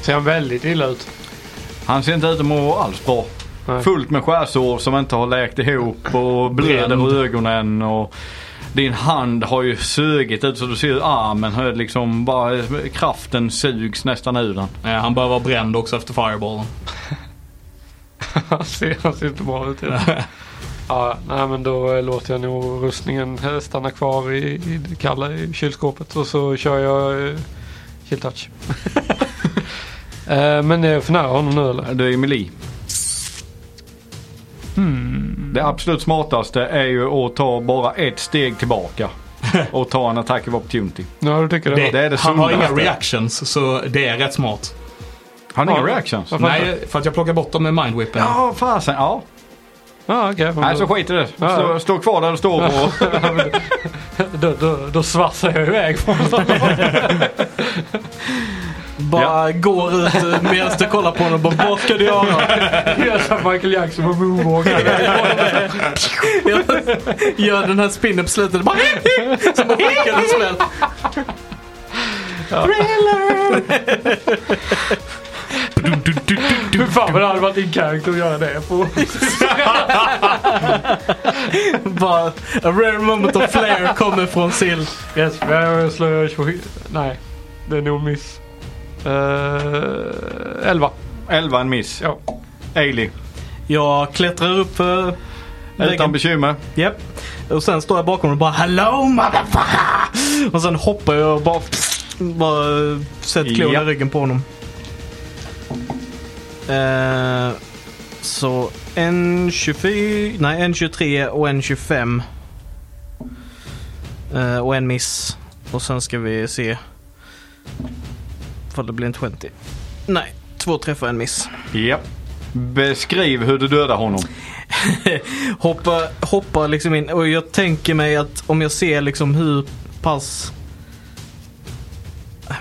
Speaker 2: Ser han väldigt illa ut?
Speaker 4: Han ser inte ut att må alls bra.
Speaker 2: Nej.
Speaker 4: Fullt med skärsår som inte har läkt ihop och blöder
Speaker 1: Bränd.
Speaker 4: ur ögonen. Och din hand har ju sugit ut så du ser hur armen hör liksom bara kraften sugs nästan ur den.
Speaker 1: Eh, han bör vara bränd också efter fireballen.
Speaker 2: Han ser, han ser inte bra ut. i det. ja, nej, men då eh, låter jag nog rustningen eh, stanna kvar i, i det kalla i kylskåpet och så kör jag eh, chill touch. eh, men är jag för nära honom nu eller?
Speaker 4: Du är Emily. Det absolut smartaste är ju att ta bara ett steg tillbaka och ta en attack of opportunity.
Speaker 2: Ja, du tycker det?
Speaker 1: Det,
Speaker 2: det...
Speaker 4: det är det
Speaker 1: han har inga
Speaker 4: sundaste.
Speaker 1: reactions, så det är rätt smart.
Speaker 4: Har ni
Speaker 2: Ja.
Speaker 4: inga reactions?
Speaker 2: Varför inte?
Speaker 1: Nej, för att jag plockar bort dem med mindwhippen.
Speaker 4: Ja, fasen. Ja.
Speaker 2: Ja, okej. men
Speaker 4: Nej, så
Speaker 2: då,
Speaker 4: skit i det.
Speaker 2: Ja.
Speaker 4: Stå, stå kvar där du står och
Speaker 2: då, då, då svassar jag iväg från
Speaker 3: Bara går ut eh, medan du kollar på honom. Bara, vad ska du göra?
Speaker 2: Gör som Michael Jackson på moonwalken.
Speaker 3: Gör den här spinnen på slutet. Bara, som bara skickar den smäll.
Speaker 2: Hur fan vad det hade varit din character att göra det på.
Speaker 3: Bara, a rare moment of flair kommer från sill.
Speaker 2: Yes, men slår jag 20. Nej, det är nog miss. Eh, Uh, 11.
Speaker 4: 11 en miss.
Speaker 2: Ja.
Speaker 4: Ailey.
Speaker 3: Jag klättrar upp eh, för
Speaker 4: Utan bekymmer.
Speaker 3: Japp. Och sen står jag bakom och bara Hello motherfucker! Och sen hoppar jag och bara, bara sätter klon
Speaker 4: Japp.
Speaker 3: i ryggen på honom. Eh, så en 24, nej en 23 och en 25. Eh, och en miss. Och sen ska vi se. För det blir en 20. Nej, två träffar en miss.
Speaker 4: Japp. Beskriv hur du dödar honom.
Speaker 3: Hoppa, hoppa liksom in och jag tänker mig att om jag ser liksom hur pass...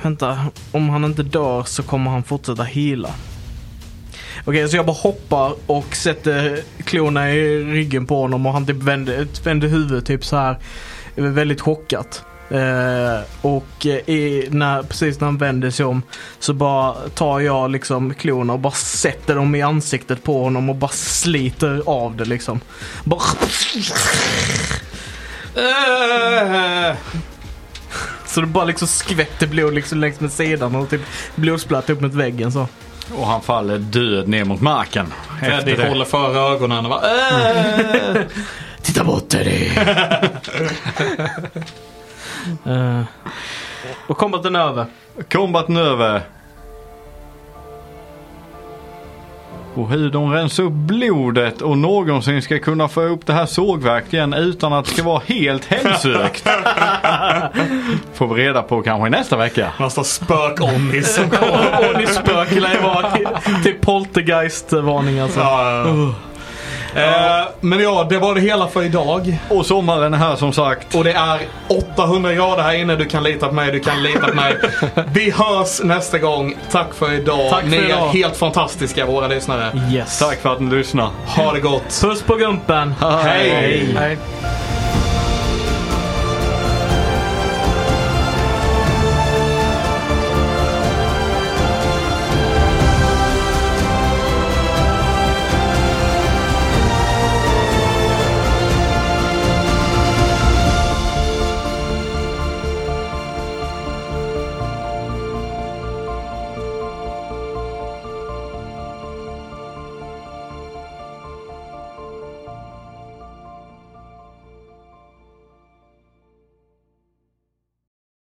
Speaker 3: Vänta, om han inte dör så kommer han fortsätta hila. Okej, så jag bara hoppar och sätter klorna i ryggen på honom och han typ vänder, vänder huvudet typ så här eh, väldigt chockat. Eh, Eh, och i, när, precis när han vänder sig om så bara tar jag liksom klorna och bara sätter dem i ansiktet på honom och bara sliter av det liksom. Bara...
Speaker 1: Äh,
Speaker 3: Eh. Så det bara liksom skvätter blod liksom längs med sidan och typ blodsplatt upp mot väggen så.
Speaker 4: Och han faller död ner mot marken.
Speaker 1: Freddy
Speaker 4: Efter det.
Speaker 1: äh, håller för ögonen och bara, "Äh."
Speaker 3: Titta bort dig! uh, och kombaten är över.
Speaker 4: Kombaten över. Och hur de rensar upp blodet och någonsin ska kunna få upp det här sågverket igen utan att det ska vara helt hemsökt. Får vi reda på kanske nästa vecka.
Speaker 1: Massa spök-Onnis som kommer.
Speaker 3: och ni spök lär ju vara till- till poltergeist-varning alltså.
Speaker 1: Ja, ja, ja. Eh, men ja, det var det hela för idag.
Speaker 4: Och sommaren är här som sagt.
Speaker 1: Och det är 800 grader här inne. Du kan lita på mig, du kan lita på mig. Vi hörs nästa gång. Tack för idag.
Speaker 3: Tack för
Speaker 1: Ni
Speaker 3: idag.
Speaker 1: är helt fantastiska våra lyssnare.
Speaker 3: Yes.
Speaker 4: Tack för att ni lyssnade.
Speaker 1: Ha det gott.
Speaker 3: Puss på gumpen!
Speaker 1: Hej.
Speaker 2: Nej.